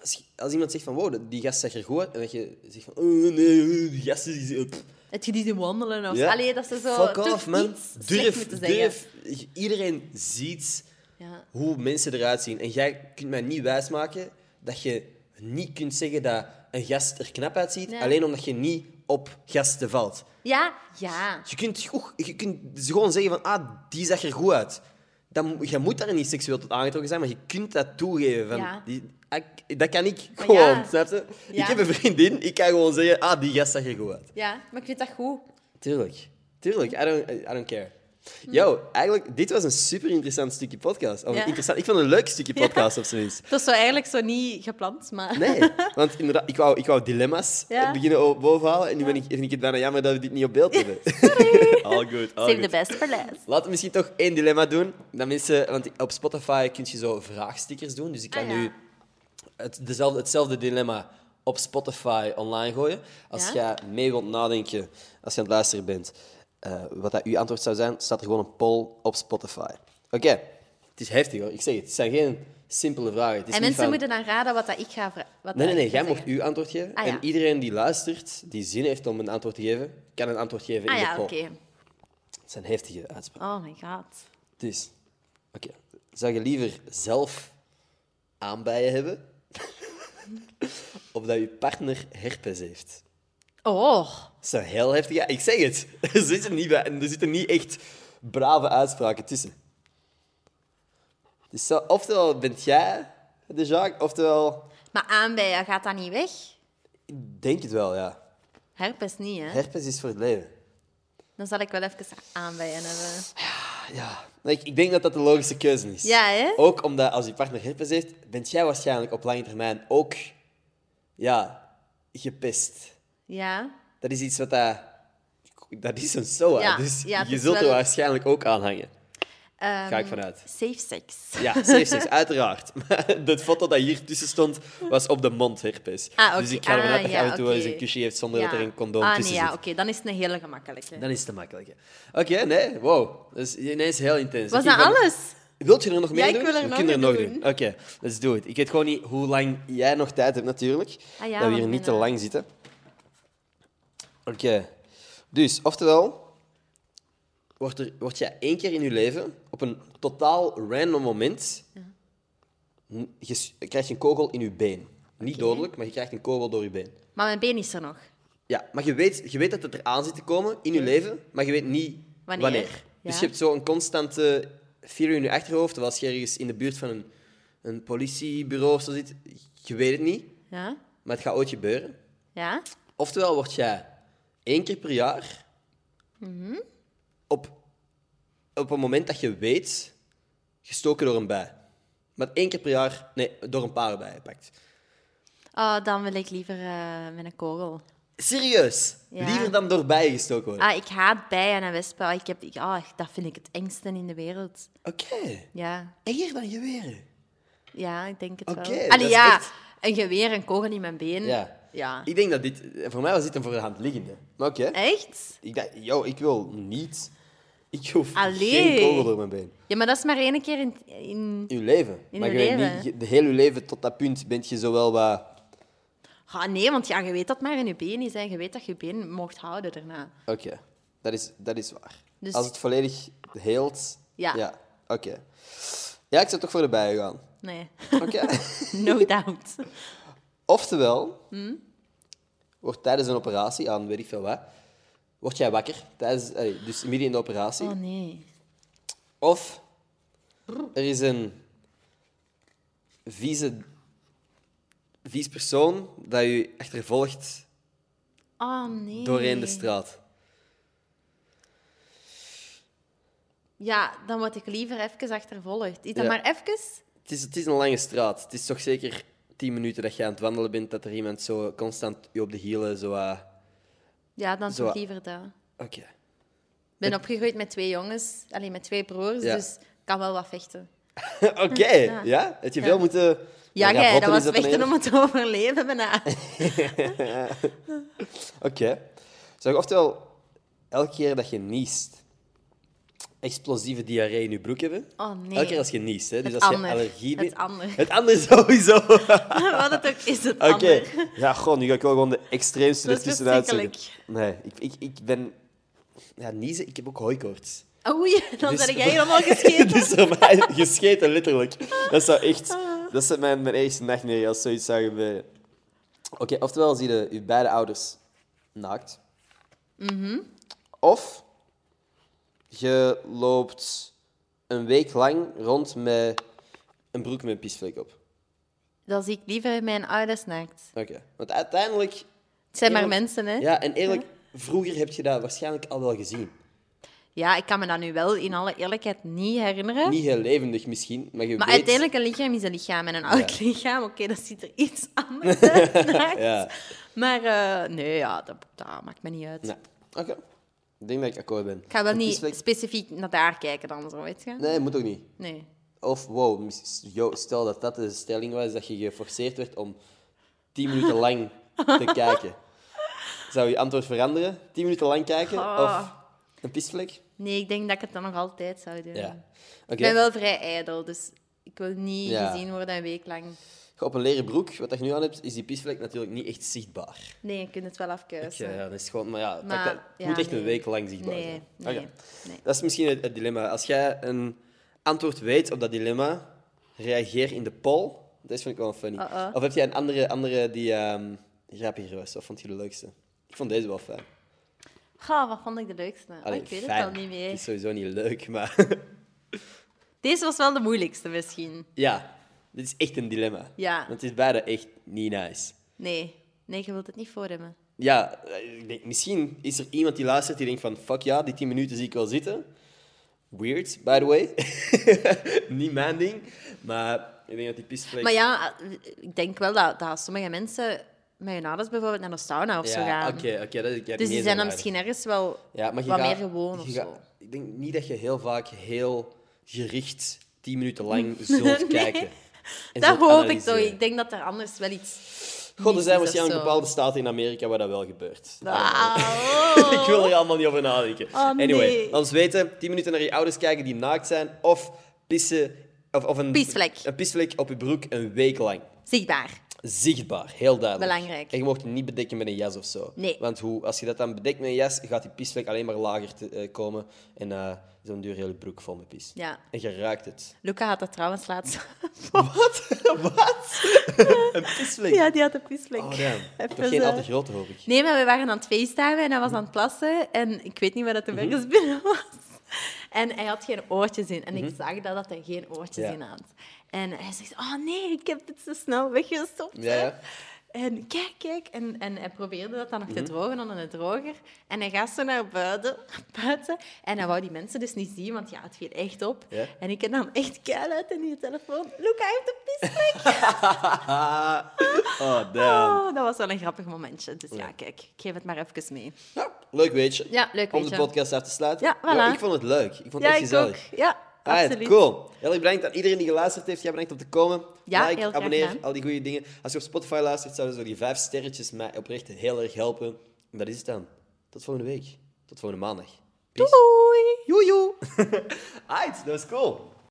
Als, je- als iemand zegt van, wow, die gast zag er goed uit, en dat je zegt van, oh nee, oh, die gast is... pff, Het je die zien wandelen of... Ja. Allee, dat ze zo... Fuck toch off, man. iets slechts Durf, moeten zeggen. durf. Iedereen ziet Ja. hoe mensen eruit zien. En jij kunt mij niet wijsmaken dat je niet kunt zeggen dat een gast er knap uitziet, Nee. alleen omdat je niet op gasten valt. Ja, ja. Je kunt, ook- je kunt ze gewoon zeggen van, ah, die zag er goed uit. Dan, mo- je moet daar niet seksueel tot aangetrokken zijn, maar je kunt dat toegeven. Van, Ja. die, ah, ik- dat kan ik Maar gewoon, ja. snap je? Ik Ja. heb een vriendin, ik kan gewoon zeggen, ah, die gast zag er goed uit. Ja, maar ik vind dat goed. Tuurlijk. Tuurlijk. I don't, I don't care. Yo, eigenlijk, dit was een super interessant stukje podcast. Of een Hm. Ja. interessant, ik vond het een leuk stukje podcast, op zijn minst. Het was zo eigenlijk zo niet gepland, maar... Nee, want inderdaad, ik wou, ik wou dilemma's Ja. eh, beginnen o- bovenhalen. En nu ben ik, vind ik het bijna jammer dat we dit niet op beeld hebben. all good, all Save the good. best for last. Laten we misschien toch één dilemma doen. Dat mensen, want op Spotify kun je zo vraagstickers doen. Dus ik kan Ah, ja. nu het, dezelfde, hetzelfde dilemma op Spotify online gooien. Als Ja? jij mee wilt nadenken, als je aan het luisteren bent, eh, wat dat uw antwoord zou zijn, staat er gewoon een poll op Spotify. Oké, het is heftig hoor. Ik zeg het, het zijn geen simpele vragen. Het is En niet mensen van- moeten dan raden wat dat ik ga... vra- Wat Nee, nee, dat Ah, nee. ik ga Jij mocht zeggen. uw antwoord geven. Ah, ja. En iedereen die luistert, die zin heeft om een antwoord te geven, kan een antwoord geven Ah in de ja, poll. oké. Het zijn heftige uitspraken. Oh my god. Dus, oké. Zou je liever zelf aanbijen hebben? of dat je partner herpes heeft? Oh... Dat is een heel heftig... Ja, ik zeg het. Er zitten niet, bij, er zitten niet echt brave uitspraken tussen. Dus zo- oftewel bent jij de Jacques, oftewel... Maar aanbijen, gaat dat niet weg? Ik denk het wel, ja. Herpes niet, hè? Herpes is voor het leven. Dan zal ik wel even eh. aanbijen hebben. Ja, ik, ik denk dat dat de logische keuze is. Ja, hè? Ook omdat als je partner herpes heeft, bent jij waarschijnlijk op lange termijn ook ja, gepest. Ja. Dat is iets wat dat... Dat is een SOA, Ja, dus ja, het je is zult er wel- Ehm, waarschijnlijk ook aan hangen. Ga ik vanuit. Safe sex. Ja, safe sex, uiteraard. Maar de foto dat hier tussen stond, was op de mond herpes. Ah, oké. Dus ik ga ervan uit Ah, dat je ja, af en toe wel eens oké. een kusje heeft zonder Ja. dat er een condoom ah, tussen nee, ja, zit. oké. Dan is het een hele gemakkelijke. Dan is het te makkelijk. hè. Oké, nee, wow. Dat is ineens heel intens. Was Ik dat ben- alles? Wilt je er nog meer ik doen? wil er We nog kunnen een nog doen. Oké, let's do it. Ik weet gewoon niet hoe lang jij nog tijd hebt, natuurlijk. Ah ja, dat we want hier niet mijn, te eh, lang zitten. Oké. Dus, oftewel, wordt er, word jij één keer in je leven, op een totaal random moment, n- ges- krijg je een kogel in je been. Niet dodelijk, maar je krijgt een kogel door je been. Maar mijn been is er nog. Ja, maar je weet, je weet dat het eraan zit te komen in je leven, maar je weet niet Wanneer, wanneer. ja. Dus je hebt zo'n constante fear in je achterhoofd. Terwijl Als je ergens in de buurt van een, een politiebureau of zo zit, je weet het niet, Ja? maar het gaat ooit gebeuren. Ja? Oftewel word jij één keer per jaar Mhm. op, op een moment dat je weet gestoken door een bij. Maar één keer per jaar, nee, door een paar bijen pakt. Oh, dan wil ik liever eh, met een kogel. Serieus? Ja. Liever dan door bijen gestoken worden. Ah, ik haat bijen en wespen. Ah, Ik heb, ik, ah, dat vind ik het engste in de wereld. Oké, Ja, enger dan geweren. ja ik denk het Oké, wel. dat Allee, is ja, echt- een geweer, een kogel in mijn been. Ja. Mm. ja. Ik denk dat dit... eh, Voor mij was dit een voor de hand liggende. Maar oké. Echt? Ik dacht, yo, ik wil niet... Ik hoef Allee. geen kogel door mijn been. Ja, maar dat is maar één keer in... in... Uw leven. In maar uw je weet leven. niet... je- De hele leven tot dat punt bent je zowel wat... Ah, nee, want ja, je weet dat het maar in je been is. En je weet dat je je been mocht houden daarna. Oké. Dat, is, dat is waar. Dus- Als het volledig heelt... Ja. Oké. Ja, ik zou toch voor de bijen gaan. Nee, Oké. no doubt. Oftewel... Mm. Wordt tijdens een operatie aan weet ik veel wat... Word jij wakker. Tijdens, allee, dus midden in de operatie. Oh nee. Of er is een vieze, vies persoon dat je achtervolgt Oh nee. doorheen de straat. Ja, dan word ik liever even achtervolgd. Is dat Ja. maar even? Het is, het is een lange straat. Het is toch zeker tien minuten dat je aan het wandelen bent dat er iemand zo constant je op de hielen zo... ah, Ja, dan Zo. toch liever dat. Oké. Ik ben opgegroeid met twee jongens, alleen met twee broers, Ja. dus ik kan wel wat vechten. Oké, ja. Heb je veel moeten... Ja, gaan jij, dat rotten was is een vechten hele- om het te overleven bijna. Oké. Zeg, oftewel, elke keer dat je niest, explosieve diarree in je broek hebben. Oh, nee. Elke keer als je niest, hè. Dus Het als ander. je allergie Het bent- ander. Het ander sowieso. Oké. wat het ook is, het ander. Ja, goh, nu ga ik wel gewoon de extreemste Dat is ertussenuit zeggen. verschrikkelijk. Nee, ik, ik, ik ben... Ja, niezen, ik heb ook hooikoorts. Oei, dan Dus- ben jij helemaal gescheten. dus voor mij gescheten, letterlijk. Dat zou echt... Dat is mijn, mijn eerste nachtmerrie als zoiets zou gebeuren. Oké, oftewel zie je je beide ouders naakt. Of je loopt een week lang rond met een broek met een pisvlek op. Dan zie ik liever mijn ouders naakt. Oké. Want uiteindelijk... Het zijn maar Eerlijk- mensen, hè? Ja. Ja, en eerlijk, vroeger heb je dat waarschijnlijk al wel gezien. ik kan me dat nu wel in alle eerlijkheid niet herinneren. Niet heel levendig misschien, maar je maar weet... uiteindelijk, een lichaam is een lichaam en een oud lichaam, oké, dat ziet er iets anders uit. naakt. Ja. Maar eh, nee, ja, dat, dat maakt me niet uit. Nou, oké. Ik denk dat ik akkoord ben. Ik ga wel Een niet pisvlek- specifiek naar daar kijken dan, zo, weet je? Nee, moet ook niet. Nee. Of wow, mis- yo, stel dat dat de stelling was, dat je geforceerd werd om tien minuten lang te kijken. Zou je antwoord veranderen? Tien minuten lang kijken Ah. of een pisvlek? Nee, ik denk dat ik het dan nog altijd zou doen. Ja. Oké. Ik ben wel vrij ijdel, dus ik wil niet Ja. gezien worden een week lang. Op een leren broek, wat dat je nu aan hebt, is die pisvlek natuurlijk niet echt zichtbaar. Nee, je kunt het wel afkeuzen. eh, Ja, ja, dat is gewoon, maar ja, Maar, dat, dat ja, moet echt nee. een week lang zichtbaar Nee, zijn. nee, Oké. nee. Dat is misschien het, het dilemma. Als jij een antwoord weet op dat dilemma, reageer in de poll. Dat is vind ik wel funny. Uh-oh. Of heb jij een andere, andere die ehm grappiger was? Of vond je de leukste? Ik vond deze wel fijn. Goh, wat vond ik de leukste? Oh, Allee, Ah, ik weet fijn. het al niet meer. Het is sowieso niet leuk, maar Deze was wel de moeilijkste misschien. ja, dit is echt een dilemma. Ja. Want het is beide echt niet nice. Nee, nee, je wilt het niet voor hebben. Ja, eh, ik denk, misschien is er iemand die luistert die denkt van fuck ja, die 10 minuten zie ik wel zitten. Weird, by the way. Niet mijn ding. Maar ik denk dat die pisvlek... Maar ja, ik denk wel dat, dat sommige mensen met hun ouders bijvoorbeeld naar de sauna of zo Ja, gaan. oké, oké, dat ik heb Dus die meer zijn dan dan misschien ergens wel waar. ja, maar je wat gaat- meer gewoon je of gaat- zo. Ik denk niet dat je heel vaak heel gericht 10 minuten lang zult kijken. en Dat zult hoop ik toch. analyseren. Ik denk dat er anders wel iets... God, er Minstens of zijn waarschijnlijk zo. bepaalde staten in Amerika waar dat wel gebeurt. Ah, Ik wil er allemaal niet over nadenken. Oh, nee. Anyway, laat ons weten. 10 minuten naar je ouders kijken die naakt zijn. Of pissen... Of, of een, Pisvlek. Een pisvlek op je broek een week lang. Zichtbaar. Zichtbaar, heel duidelijk. Belangrijk. En je mocht het niet bedekken met een jas of zo. Nee. Want hoe, als je dat dan bedekt met een jas, gaat die pisvlek alleen maar lager te, eh, komen. En eh zo'n duur hele broek vol met pis. Ja. En je ruikt het. Luca had dat trouwens laatst. Wat? Wat? een pisvlek? ja, die had een pisvlek. Oh, damn. Even Toch geen zo. al te grote, hoop ik. Nee, maar we waren aan het feestdagen en hij was aan het plassen. En ik weet niet waar Mhm. dat de ergens binnen was. En hij had geen oortjes in. En ik zag dat, dat hij geen oortjes Mhm. Ja. in had. En hij zegt, oh nee, ik heb het zo snel weggestopt. Ja, hè." ja. En kijk, kijk. En, en hij probeerde dat dan Mhm. nog te drogen onder de droger. En hij gaat zo naar buiten, buiten. En hij wou die mensen dus niet zien, want ja, het viel echt op. Ja. En ik nam echt keil uit in die telefoon. Luca hij heeft een pisvlek. Oh, damn. Oh, dat was wel een grappig momentje. Dus ja, kijk, ik geef het maar even mee. Nou, leuk weetje. Ja, leuk Om de weetje. podcast af te sluiten. Ja, voilà. Yo, ik vond het leuk. Ik vond het Ja, echt ik ook. gezellig. Ah Ja, Alright, absoluut. Ah, cool. Heel erg bedankt aan iedereen die geluisterd heeft. Jij bedankt om te komen. Ja, like, heel graag abonneer, gedaan. al die goede dingen. Als je op Spotify luistert, zouden zo die vijf sterretjes mij oprecht heel erg helpen. En dat is het dan. Tot volgende week. Tot volgende maandag. Peace. Doei! Joejoe. Alright, dat was cool.